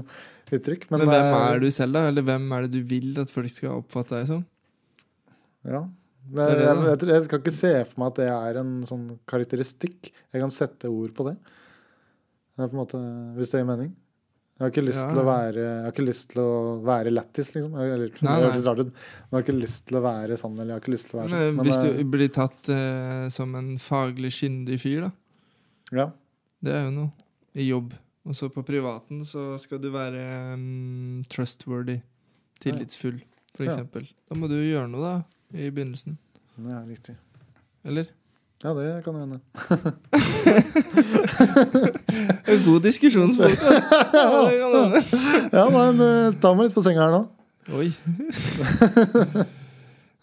uttrykk. eh, Men, hvem er du selv, da? Eller hvem er det du vil at folk skal oppfatte deg som? Ja. er Jeg, det, jeg, da. jeg, jeg kan ikke se for meg at det er en sånn karakteristikk. Jeg kan sette ord på det. Det er på en måte, Hvis det gir mening. Jeg har ikke lyst, Ja, til, å ja. være, jeg har ikke lyst til å være lættis, liksom. Jeg, Nei, eller, det nei. høres rart ut, men jeg har ikke lyst til å være sånn eller jeg har ikke lyst til å være sånn. Men, Men, hvis eh, du blir tatt eh, som en faglig kyndig fyr, da. ja. Det er jo noe. I jobb. Og så på privaten så skal du være mm, trustworthy. Tillitsfull, for Ja. eksempel. Da må du jo gjøre noe, da. I begynnelsen. Det er riktig. Eller? Ja, det kan jo hende. En god diskusjonsfolk, da. Ja, men eh, ta meg litt på senga her nå. Oi.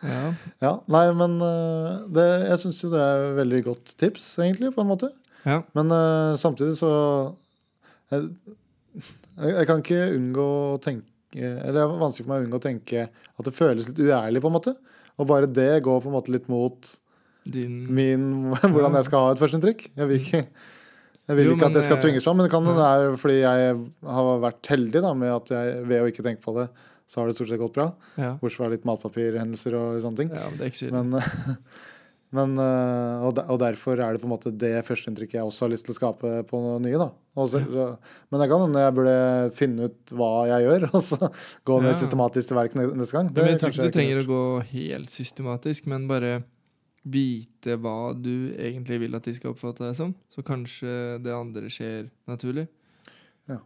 ja. Ja, Nei, men eh, det, jeg syns jo det er et veldig godt tips, egentlig, på en måte. ja. Men eh, samtidig så jeg, jeg, jeg kan ikke unngå å tenke Eller det er vanskelig for meg å unngå å tenke at det føles litt uærlig, på en måte. Og bare det går på en måte litt mot Din min hvordan jeg skal ha et førsteinntrykk. Jeg vil ikke jeg vil Jo, ikke men, at det skal eh, tvinges fram, men det kan hende det er fordi jeg har vært heldig da, med at jeg, ved å ikke tenke på det, så har det stort sett gått bra. Ja. Bortsett fra litt matpapirhendelser og sånne ting. ja, men det er ikke så ille. Men, men eh, og, der, og derfor er det på en måte det førsteinntrykket jeg også har lyst til å skape på noe nye. da. Og så- Men det kan hende jeg burde finne ut hva jeg gjør, og så gå mer Ja. systematisk til verk ne- neste gang. Ja, men jeg tror kanskje ikke du jeg trenger å kunne gå helt systematisk, men bare vite hva du egentlig vil at de skal oppfatte deg som. Så kanskje det andre skjer naturlig. Ja.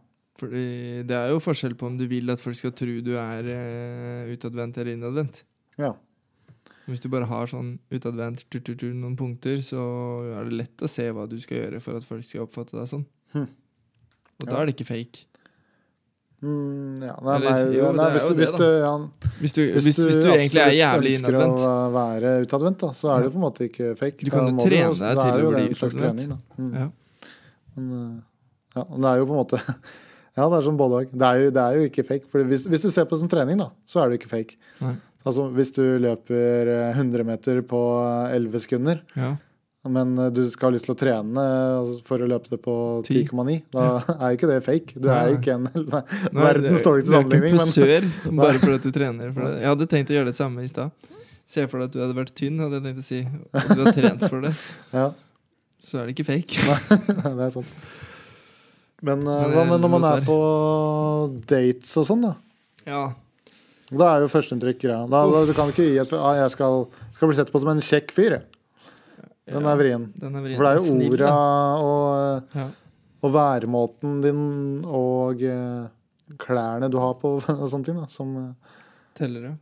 Fordi det er jo forskjell på om du vil at folk skal tro du er eh, utadvendt eller innadvendt. gjort. Ja. Hvis du bare har sånn utadvendt tut, tut, tut, noen punkter, så er det lett å se hva du skal gjøre for at folk skal oppfatte deg sånn. Hm. Og Ja. da er det ikke fake. Mm, ja, nei, Eller, nei, jo, det nei er hvis, jo du, det, hvis da. du, ja, Hvis du, hvis, hvis du, egentlig er absolutt jævlig ønsker innadvendt. å være utadvendt, da, så er det jo på en måte ikke fake. Du kan Da jo må trene også- deg da til er det å jo bli en slags utadvendt. trening, da. Mm. Ja. Men, eh, ja, men det er jo på en måte Ja, det er som både òg. Det, er jo- det er jo ikke fake. For hvis, hvis du ser på det som trening, da, så er det jo ikke fake. Nei. Altså, hvis du løper eh, 100 meter på eh, 11 sekunder, Ja. men eh, du skal ha lyst til å trene eh, for å løpe det på 10. 10,9, da er jo ikke det fake. Du er Nei. jo ikke en nei, Nei, verdens det- dårligste Du er sammenligning. Men, ikke en posør bare fordi at du trener. For det. Jeg hadde tenkt å gjøre det samme i stad. Se for deg at du hadde vært tynn, hadde jeg tenkt å si. Og du har trent for det. ja, Så er det ikke fake. det er sant. Men eh, Men det hva med når man lot er være. på dates og sånn, da? Ja, Da er jo førsteinntrykk greia. Da, da, du kan ikke gi et ah, jeg skal, skal bli sett på som en kjekk fyr. jeg. Den Ja, er vrien. den er vrien. For det er jo Snill, orda da. og, eh, Ja. og væremåten din og eh, klærne du har på og sånne ting, da, som eh, Teller det.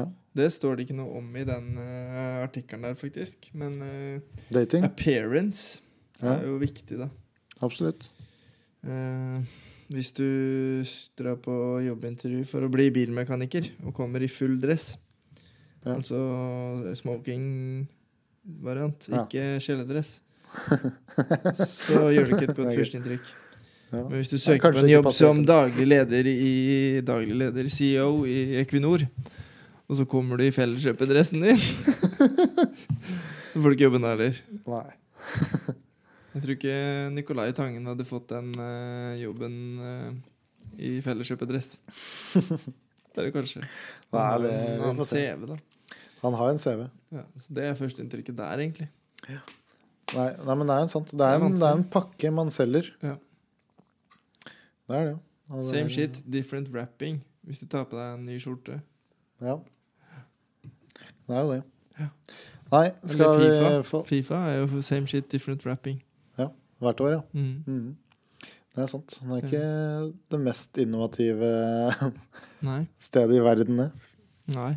Ja. Det står det ikke noe om i den eh, artikkelen der, faktisk. Men eh, dating. appearance Ja. er jo viktig, da. Absolutt. Eh, hvis du s- drar på jobbintervju for å bli bilmekaniker og kommer i full dress, Ja. altså smoking-variant, Ja. ikke kjeledress, så gjør du ikke et Det godt er førsteinntrykk. Ja. Men hvis du søker på kanskje en ikke jobb passer som helt. daglig leder i daglig leder CEO i Equinor, og så kommer du i felleskjøpedressen din, så får du ikke jobben da heller. Nei. Jeg tror ikke Nicolai Tangen hadde fått den eh, jobben eh, i felleskjøpedress. Eller kanskje. Nei, En det- eh, vi får annen se. CV, da. Han har en CV. Ja, så det er førsteinntrykket der, egentlig. Nei, nei, men det er en sant. Det Det er er en, det er en pakke man selger. Ja. Det er det. Og det Same er- shit, different wrapping. Hvis du tar på deg en ny skjorte. Ja. Det er jo det. Ja. Nei, skal Eller vi Fifa. få Fifa er jo same shit, different wrapping. Hvert år, ja. Mm. Mhm. Det er sant. Det er ikke det mest innovative Nei. stedet i verden, det. Nei.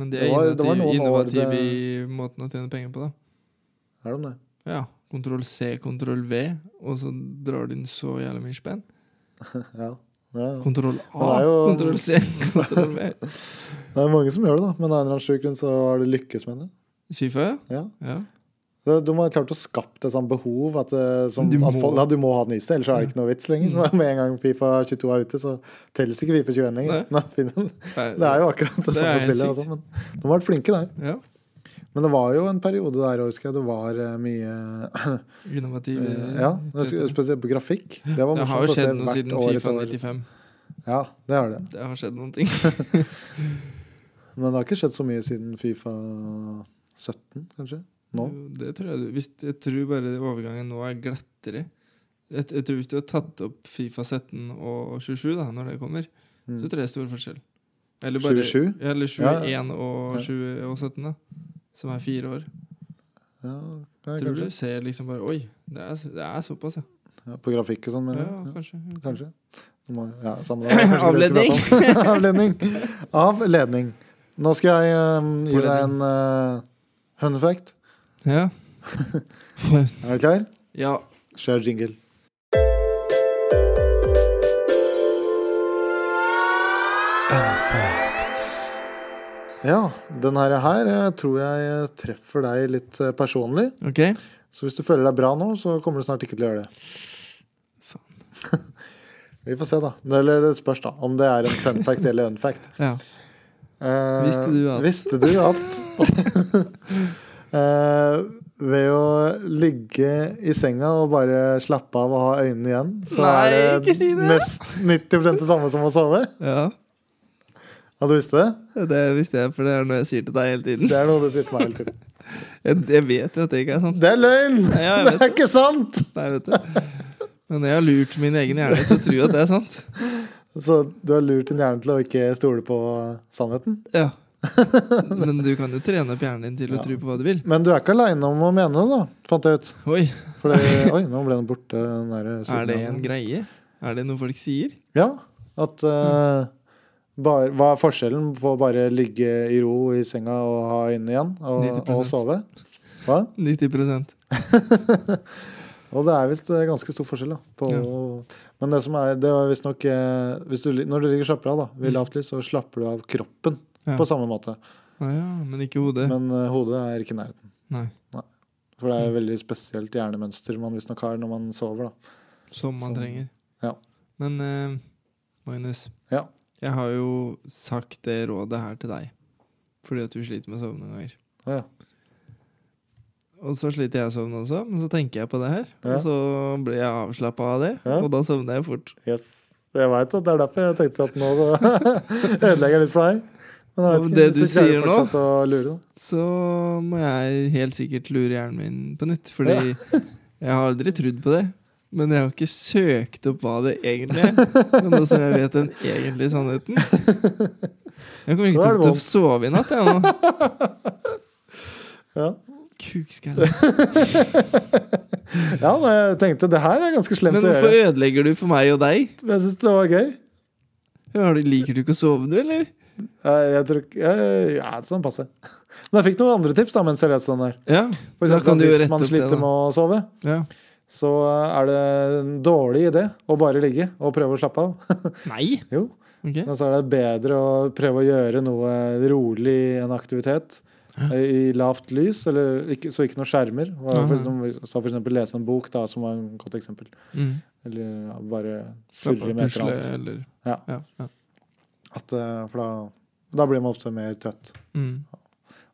Men det Det er var- det var innovativ, noen år innovativ i måten å tjene penger på, da. Er det om det? Ja. Kontroll C, kontroll V, og så drar du inn så jævlig mye spenn. Ja. Det er, Kontroll Men A, det er jo- kontroll C, kontroll V. det er mange som gjør det, da, men av en eller annen sjuk grunn så har de lykkes med det. Skifa, ja. Ja. ja. Det- De har klart å skapt et sånt behov at, det- som, Du at må. Mm. folk, ja, du må ha den i seg, ellers er det ikke noe vits lenger. Med en gang Fifa 22 er ute, så telles ikke Fifa 21 lenger. Nei. Nei, finner- det er jo akkurat det, Det er samme helt spillet. sykt. Altså, men de har vært flinke der. ja. Men det var jo en periode der også, husker jeg, det var eh, mye Innovativ eh, Eh, Ja, men sp- spesielt på grafikk. Det var Det har jo morsomt å se skjedd noe hvert siden år Fifa etter år. 95. Ja, det har det. Det har skjedd noen ting. Men det har ikke skjedd så mye siden Fifa 17, kanskje? Nå? Det tror jeg du hvis, Jeg tror bare overgangen nå er glattere. Jeg, jeg tror hvis du har tatt opp Fifa 17 og 27 da, når det kommer, Mm. så tror jeg det er stor forskjell. Eller 27? Ja, Eller Ja, 21 og 20 og 17, da. Som er fire år. Ja, nei, tror kanskje. du ser liksom bare Oi, det er, det er såpass, ja. Ja, på grafikk og sånn, ja, mener du? Ja, kanskje. Kanskje. Nå må- Ja, samme det. Kanskje det vi Avledning. skal prate om. Avledning. Avledning. Nå skal jeg eh, gi deg en Påledning. uh, hønefact. Ja. Er du klar? ja. Kjør jingle. Ja, den her, her eh, tror jeg treffer deg litt eh, personlig. OK. Så hvis du føler deg bra nå, så kommer du snart ikke til å gjøre det. Faen. Vi får se, da. Eller det spørs, da. Om det er en fun fact eller unfact. Ja. Eh, Visste du at- Visste du at Eh, Ved å ligge i senga og bare slappe av og ha øynene igjen, så Nei, er det ikke si det! mest 90 det samme som å sove. ja. Ja, du visste det? Det visste jeg, for det er noe jeg sier til deg hele tiden. Det er noe du sier til meg hele tiden. Jeg, jeg vet jo at det ikke er sant. Det er løgn! Ja, jeg Det vet er ikke sant! Nei, vet du. Men jeg har lurt min egen hjerne til å tro at det er sant. Så du har lurt din hjerne til å ikke stole på sannheten. Ja. Men du kan jo trene opp hjernen din til å tro på hva du vil. Men du er ikke aleine om å mene det, da, fant jeg ut. Oi, For det, oi, nå ble den borte. Den der er det en siden. greie? Er det noe folk sier? Ja, at eh, bar, Hva er forskjellen på å bare ligge i ro i senga og ha øynene igjen og, 90%. og sove? Hva? 90 Og det er visst eh, ganske stor forskjell, da. På, Men det som er, det var visstnok eh, hvis du li- Når du ligger og slapper av da, ved lavt lys, så slapper du av kroppen Mm. Ja. på samme måte. Å ja, men ikke hodet. Men eh, hodet er ikke i nærheten. Nei. Mm. For det er veldig spesielt hjernemønster man visstnok har når man sover. da. Som man Som- trenger. ja. Men eh, Magnus, Ja. jeg har jo sagt det rådet her til deg. Fordi at du sliter med å sove noen ganger. Å ja. Og så sliter jeg å sovne også, men så tenker jeg på det her. Ja. Og så ble jeg avslappa av det, Ja. og da sovner jeg fort. Yes. Jeg veit at det er derfor jeg tenkte at nå så ødelegger jeg litt for deg. Men jeg vet Og ikke, det hvis du klarer sier nå, fortsatt å lure, da. Så må jeg helt sikkert lure hjernen min på nytt. Fordi jeg har aldri trodd på det. Men jeg har ikke søkt opp hva det egentlig er. Men nå som jeg vet den egentlige sannheten Jeg kommer Så ikke er det til å vondt. sove i natt, jeg nå. Ja. Kukskalle. Ja, men jeg tenkte det her er ganske slemt Men å hvorfor gjøre. ødelegger du for meg og deg? Men jeg syns det var gøy. Har du- Liker du ikke å sove, du, eller? Jeg, jeg tror, ikke- jeg, ja, sånn passe. Men jeg fikk noen andre tips da, mens jeg leste den der. Ja, For da kan eksempel, du jo hvis rette man opp det. sliter med Da. å sove, Ja. så er det en dårlig idé å bare ligge og prøve å slappe av. Nei? jo, Ok. men så er det bedre å prøve å gjøre noe rolig, en aktivitet, eh, i lavt lys, eller ikke, så ikke noe skjermer. Ja, For ja. eksempel- Så for eksempel lese en bok, da, som var et godt eksempel. Mm. Eller ja, bare Slapp surre av, med et eller pusle, annet. eller Ja. ja, ja. At, eh, for da, da blir man ofte mer trøtt, Mm.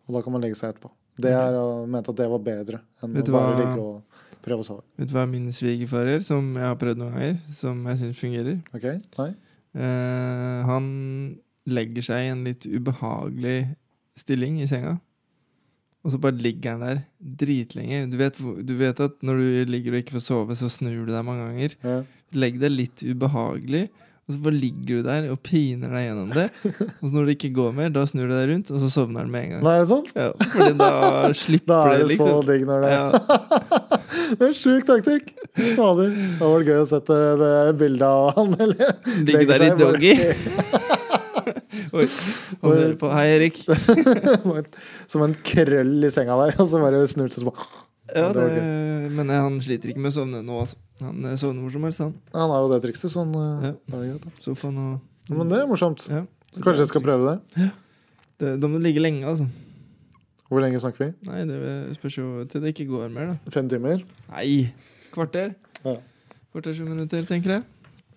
og da kan man legge seg etterpå. Det er, og mente at det var bedre enn Vet å du bare hva- ligge og prøve å sove. Vet du hva min svigerfar gjør, som jeg har prøvd noen ganger, som jeg syns fungerer? Ok? Nei? Eh, han legger seg i en litt ubehagelig stilling i senga. Og så bare ligger han der dritlenge. Du vet, hvor- du vet at når du ligger og ikke får sove, så snur du deg mange ganger. Ja. Legg deg litt ubehagelig, og så bare ligger du der og piner deg gjennom det. Og så når det ikke går mer, da snur du deg rundt, og så sovner han med en gang. Nei, er det sant? Ja, fordi da slipper Da er det, det så liksom. digg når det Ja, Det er en sjuk taktikk! Fader. Det var det gøy å sette det bildet av han. Eller? ligger der i doggy. Oi, han hører på. Hei, Erik. doggy. Som en krøll i senga der, og så bare snurt seg sånn. Ja, Ja, det var det, men eh, han sliter ikke med å sovne nå, altså. Han eh, sovner hvor som helst, han. Han har jo det trikset, sånn. eh, Ja. Da er det greit, da. Sofaen og Ja, Men det er morsomt. ja. Så det er Kanskje jeg skal triks. prøve det? Det, da må du ligge lenge, altså. Hvor lenge snakker vi? Nei, det spørs jo til det ikke går mer, da. Fem timer? Nei! Kvarter? Ja. Kvarter 20 minutter, tenker jeg.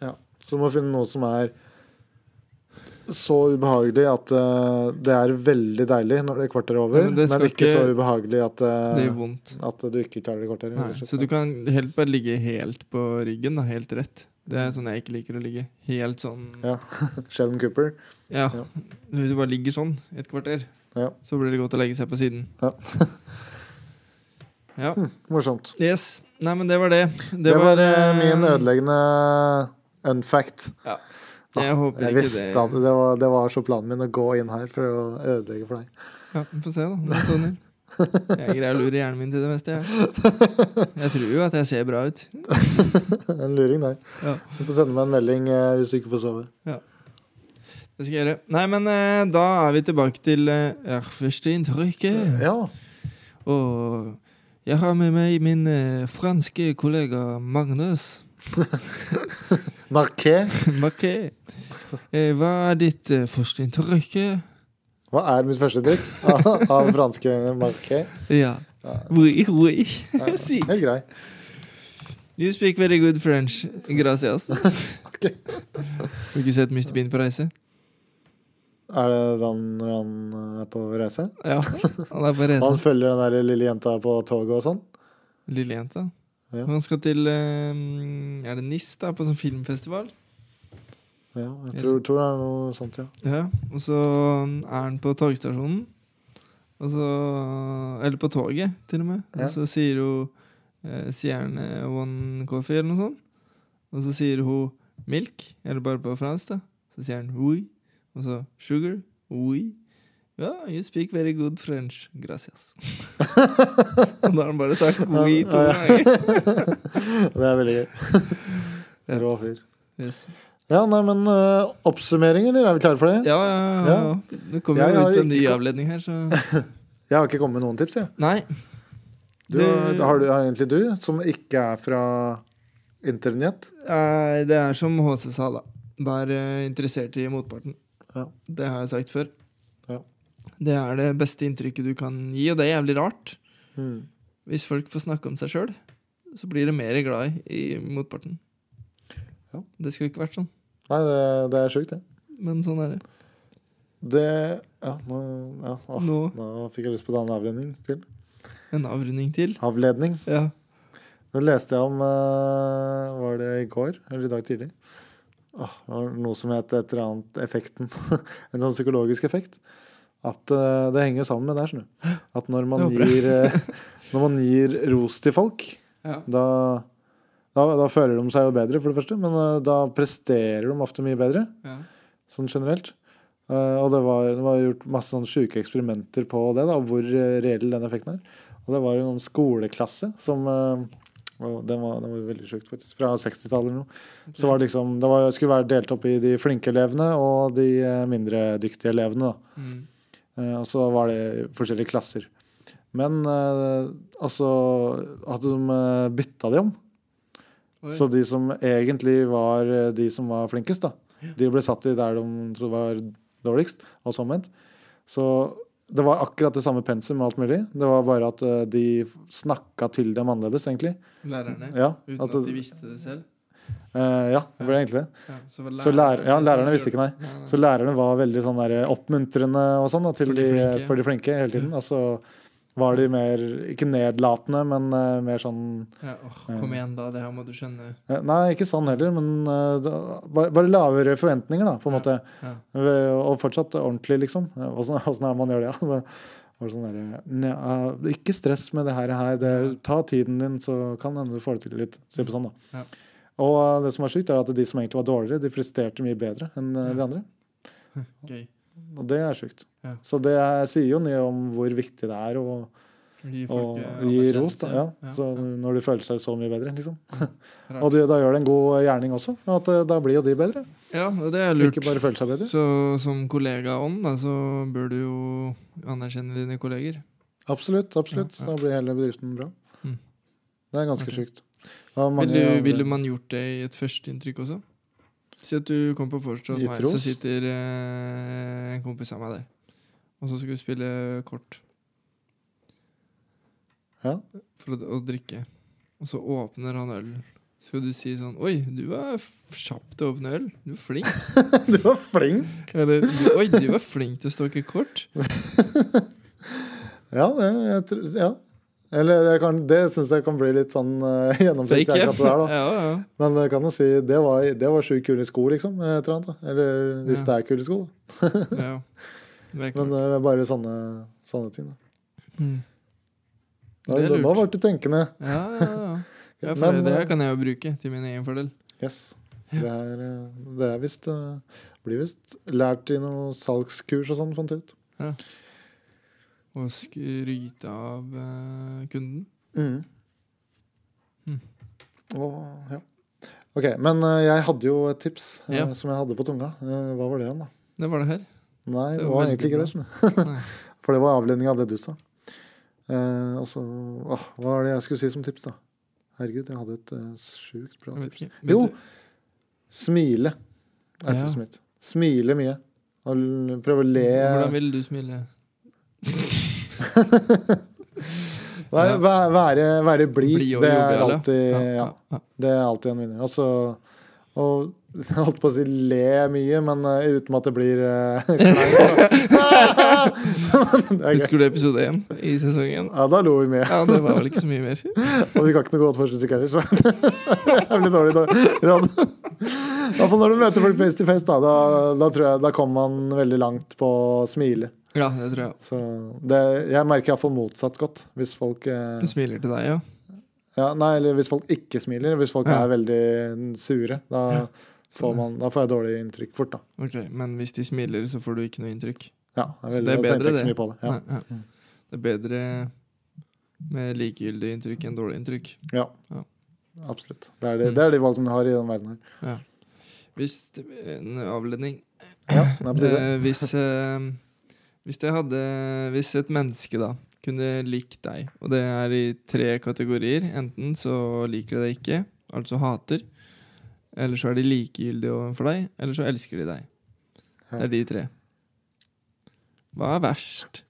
Ja. Så du må finne noe som er så ubehagelig at eh, det er veldig deilig når det er kvarter over, Ja, men men, det skal ikke ikke- så ubehagelig at, eh, Det gjør vondt. at du ikke klarer det kvarteret. Nei, rett og slett. så du kan helt bare ligge helt på ryggen, da. Helt rett. Det er sånn jeg ikke liker å ligge. Helt sånn Ja. Sheldon Cooper. Ja. Ja. Hvis du bare ligger sånn i et kvarter, Ja. så blir det godt å legge seg på siden. Ja. ja. Morsomt. Yes. Nei, men det var det. Det, Det var, eh, eh, min ødeleggende unfact. Jeg håper Jeg ikke visste det. at det var, det var så planen min å gå inn her for å ødelegge for deg. Ja, vi får se, da. Det er sånn her. Jeg greier å lure hjernen min til det meste, jeg. Jeg tror jo at jeg ser bra ut. En luring der. Ja. Du får sende meg en melding eh, hvis du ikke får sove. Det skal jeg gjøre. Nei, men eh, da er vi tilbake til eh, første inntrykket. Ja. Og jeg har med meg min eh, franske kollega Magnus. Marqué. Marquet. Eh, hva er ditt eh, første inntrykk? Hva er mitt første trykk av, av franske Marqué? Ja. Ja. Oui, oui. Ja, Si. Helt grei. You speak very good French. Gracias. Har Ok. du ikke sett Mr. Bean på reise? Er det den når han eh, er på reise? Ja, han er på reise. Han følger den der lille jenta på toget og sånn? Lille jenta. Ja. Han skal til eh, Er det NIS, da? På sånn filmfestival. Ja, jeg tror, tror det er noe sånt, ja. Ja. Og så er han på togstasjonen. Og så Eller på toget, til og med. Ja. Og så sier hun eh, Sier han eh, one coffee, eller noe sånt. Og så sier hun milk, eller bare på fransk, da. Så sier han oui. Og så sugar. Oui. Ja, you speak very good French. Gracias. og da har han bare sagt oui to Ja, ja. ganger. Det er veldig gøy. Rå fyr. Yes. Ja, nei, men eh, oppsummering, eller? Er vi klare for det? Ja, ja, ja. Det kommer Jeg jo har ut en ikke ny kom- avledning her, så Jeg har ikke kommet med noen tips, jeg. Nei. Du, Det- Har, du, har egentlig du, som ikke er fra internett? Nei, Eh, det er som HC sa, da. Vær eh, interessert i motparten. Ja. Det har jeg sagt før. Ja. Det er det beste inntrykket du kan gi, og det er jævlig rart. Mm. Hmm. Hvis folk får snakke om seg sjøl, så blir de mer glad i, i motparten. Ja. Det skulle ikke vært sånn, Nei, det, det er sjukt, det. men sånn er det. Det Ja, nå, ja, åh, nå. Nå. fikk jeg lyst på en annen avledning til. En avrunding til. Avledning. Ja. Det leste jeg om eh, Var det i går? Eller i dag tidlig? Åh, det var noe som het et eller annet effekten. en sånn psykologisk effekt. At eh, Det henger jo sammen med det her, skjønner du. At når man, Det håper gir, eh, når man gir ros til folk, Ja. da, da, da føler de seg jo bedre, for det første. Men eh, da presterer de ofte mye bedre ja. sånn generelt. Eh, og det var, det var gjort masse sånn sjuke eksperimenter på det, da, hvor eh, reell den effekten er. Og det var jo noen skoleklasse som eh, og den, var, den var veldig sjukt, faktisk. Fra 60-tallet eller noe. Så var det liksom Det var, skulle være delt opp i de flinke elevene og de eh, mindre dyktige elevene, da. Mm. Eh, Og så var det forskjellige klasser. Men eh, altså at de eh, bytta de om. Oi. Så de som egentlig var eh, de som var flinkest, da, de ble satt i der de trodde var dårligst, og så omvendt. Så det var akkurat det samme pensum og alt mulig. Det var bare at eh, de snakka til dem annerledes, egentlig. Lærerne. Ja, Uten Altså- at, at de visste det selv. eh, ja det ble egentlig det. Ja, så, Så lærer, ja, lærerne visste ikke, nei. Nei, nei. Så lærerne var veldig sånn der oppmuntrende og sånn da, til For de de for, de, flinke. flinke hele tiden. Altså var de mer Ikke nedlatende, men eh, mer sånn Ja, åh, kom igjen, da. Det her må du skjønne. eh, Nei, ikke sånn heller, men eh, da- bare, bare lavere forventninger, da, på en måte. Ja. Ved- Eh, Og fortsatt ordentlig, liksom. Eh, Åssen åssen er det man gjør det? Ja? Var det sånn der, «Nja, eh, ikke stress med det her. her. Det, ta tiden din, så kan hende du får det til litt. Se på sånn, da. Ja. Og eh, det som er sykt, er at de som egentlig var dårligere, de presterte mye bedre enn eh, de andre. Gøy. Og det er sjukt. Ja. Så det er, sier jo mye om hvor viktig det er å, Gi å folk eh, gi ros. anerkjennelse. Da, ja. Ja, Så ja. når de føler seg så mye bedre, liksom. Rart. Og det, da gjør det en god gjerning også. og At eh, da blir jo de bedre. Ja, og det er lurt. Ikke bare føler seg bedre. Så som kollega ånd, da, så bør du jo anerkjenne dine kolleger. Absolutt. absolutt. Ja, ja. Da blir hele bedriften bra. Mm. Det er ganske Ok. sjukt. Det var mange Ville andre- vil man gjort det i et førsteinntrykk også? Si at du kom på vorset hos Gitt meg, ros? så sitter eh, en kompis av meg der. Og så skal vi spille kort. Ja. For å, å drikke. Og så åpner han øl. Skal du si sånn Oi, du var f- kjapp til å åpne øl. Du er flink. Du var flink! Eller du- Oi, du var flink til å stokke kort. Ja, det, jeg, tror- ja. Eller det, kan- det syns jeg kan bli litt sånn uh, gjennomtenkt. Fake akkurat F. det der, da. Ja, ja. Men jeg kan jo si det var, det var sju kule sko, liksom. Et eller, annet, da. eller hvis Ja. det er kule sko, da. ja. Det er Men klart. eh, bare sånne, sånne ting. Da. Mm. Da, Det er da, da lurt. ble du tenkende. Ja, ja, ja. ja for Men, det eh, her kan jeg jo bruke til min egen fordel. Yes. Det er, eh, det er visst eh, Blir visst lært i noe salgskurs og sånn, fant jeg ut. Å skryte av eh, kunden. Mhm. Mm. Og, ja. Ok, men eh, jeg hadde jo et tips eh, Ja. som jeg hadde på tunga. Eh, hva var det igjen, da? Det var det her. Nei, Det det, var var veldig egentlig ikke det. skjønner Nei. du. For det var avledning av det du sa. Eh, og så åh, Hva var det jeg skulle si som tips, da? Herregud, jeg hadde et eh, sjukt bra Jeg vet tips. ikke. Jo, Men smile er Ja. tipset mitt. Smile mye. Og l- prøve å le Hvordan vil du smile? Nei, væ- være, være blid. Bli og det er jovial, ja. alltid Ja, ja, ja, ja. Det er alltid en vinner. Og så og jeg holdt på å si le mye, men eh, uten at det blir eh, kleint. Men det er gøy. Husker du episode én i sesong én? Ja, da lo vi mye. Ja, det var vel ikke så mye mer. Og vi kan ikke noe godt førsteinntrykk heller, så det blir dårlig da- råd. Iallfall når du møter folk face to face, da, da, da tror jeg da kommer man veldig langt på å smile. Ja, det tror jeg. Så det, jeg merker iallfall motsatt godt. Hvis folk, eh, Du smiler til deg, ja. ja, nei, eller hvis folk ikke smiler, hvis folk Ja. er veldig sure, da får, man, da får jeg dårlig inntrykk fort, da. Ok, Men hvis de smiler, så får du ikke noe inntrykk? Ja, jeg, Så veldig, det er jeg tenkte bedre ikke så det. mye på det. Ja. Nei, ja. Det er bedre med likegyldig inntrykk enn dårlig inntrykk. Ja. Ja. Absolutt. Det er de, det er de valgene du har i den verden her. Hvis En avledning. Ja, det er på tide. Eh, hvis, eh, hvis jeg hadde Hvis et menneske da kunne likt deg, og det er i tre kategorier Enten så liker de deg ikke, altså hater. Eller så er de likegyldige overfor deg, eller så elsker de deg. Det er de tre. Hva er verst?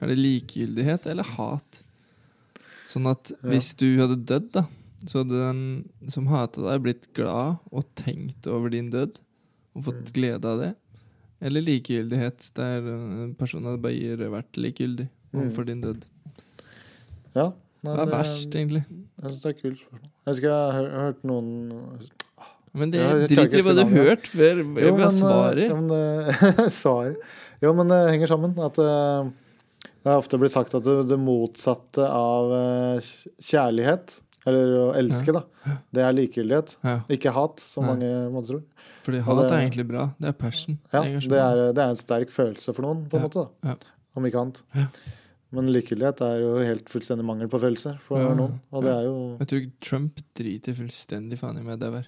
Er det likegyldighet eller hat? Sånn at hvis du hadde dødd, da, så hadde den som hata deg, blitt glad og tenkt over din død og Mm. fått glede av det. Eller likegyldighet, der eh, personen hadde bare vært likegyldig overfor din død. Mm. Ja, nei, Hva er det- verst, egentlig? Jeg syns det er et kult spørsmål. Jeg husker jeg har hø- hørt noen Men det Ja, jeg klarer drit i ikke å hva du huske har hørt, før Jo, hva men, eh, svarer. ja, men, det- Svar. Jo, men det henger sammen. At eh, det har ofte blitt sagt at det, det motsatte av eh, kjærlighet, eller å elske, da, det er likegyldighet. Ja, Ikke hat, som Nei. mange måtte tro. fordi og hat det- er egentlig bra. Det er passion. Ja, engasjement. det er, det er en sterk følelse for noen, på en Ja, måte. ja. da. Om ikke annet. Ja. Men likegyldighet er jo helt fullstendig mangel på følelser for Ja, noen. Og det er jo Jeg tror Trump driter fullstendig faen i meg dauer.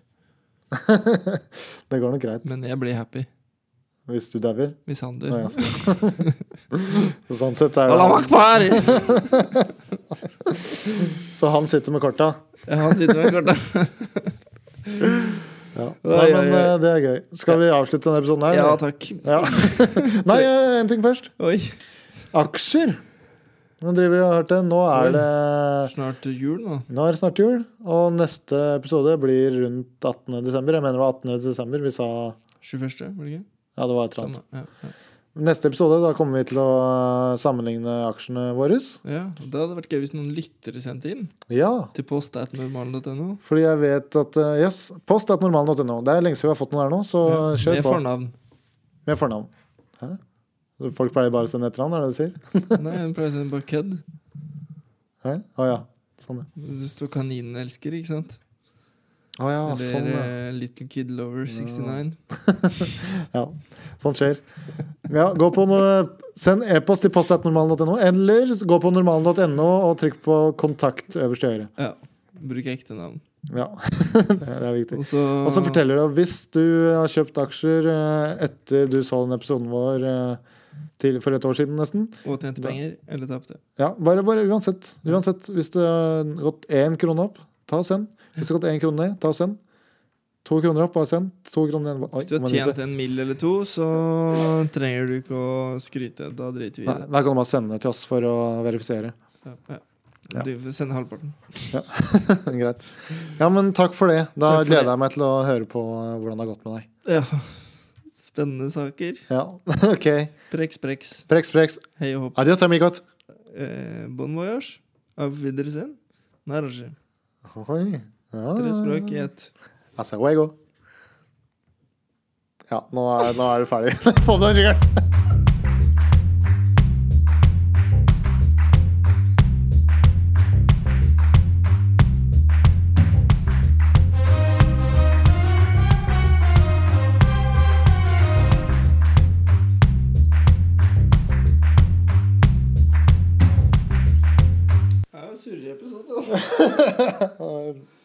Det går nok greit Men jeg blir happy hvis du dauer. hvis han Å, dør. ja, så- Så sånn sett er det Allah akbar! Så han sitter med korta. Ja, han sitter med kortet. Ja. Oi, Nei, men oi, oi. eh, det er gøy. Skal vi avslutte denne episoden her? Ja, eller? takk. Ja. Nei, eh, en ting først. Oi. Aksjer. Nå driver jeg og hørt det. Nå Oi. er det Snart jul nå. Nå er det snart jul, og neste episode blir rundt 18. desember. Jeg mener det var 18. desember. Vi sa 21., var det ikke? Ja, det var et eller annet. Samme. Ja, ja. Neste episode, da kommer vi til å eh, sammenligne aksjene våre. ja, og Det hadde vært gøy hvis noen lyttere sendte inn Ja. til post.normalen.no. Fordi jeg vet at eh, Yes, post er normalen.no. Det er lenge siden vi har fått noen der nå, så kjør Med på. fornavn. Med fornavn. Hæ? Folk pleier bare å sende etternavn, er det det du sier? Nei, hun pleier å sende bare kødd. Hæ? Å ja. Sånn, ja. Det står 'Kaninelsker', ikke sant? Å ja, Eller sånn, ja. eh, 'Little Kid Lover 69'. Ja, sånt sånn skjer. Ja, gå på noe, send e-post til postatnormalen.no, eller gå på normalen.no og trykk på 'kontakt' øverst til høyre. Ja. Bruk ekte navn. Ja, det er viktig. Og så Og så forteller du hvis du har kjøpt aksjer eh, etter du så den episoden vår eh, til, for et år siden, nesten. Og tjente penger, eller tapte. Ja, bare, bare uansett. uansett. Hvis det har gått én krone opp, ta og send. Hvis det har gått én krone ned, ta og send. To kroner opp, bare send. To kroner ned. Oi, Hvis du har må jeg nyse. tjent en mill eller to, så trenger du ikke å skryte. Da driter vi i Nei, det. da kan du bare sende det til oss for å verifisere. Ja, ja. Ja. Du får sende halvparten. Greit. Ja, men takk for det. Da Takk for gleder det. jeg meg til å høre på eh, hvordan det har gått med deg. Ja. Spennende saker. Ja, ok. Preks, preks. Preks, preks. Hei og hopp. Adios, amigos. Eh, bon voyage. Auf Wiedersehen. Narge. Oi. Ah. Ja. Tre språk i ett. Hasta luego. Altså, Ja, nå er, nå er du ferdig. Få den ringeren. Det er jo surrig episode, da.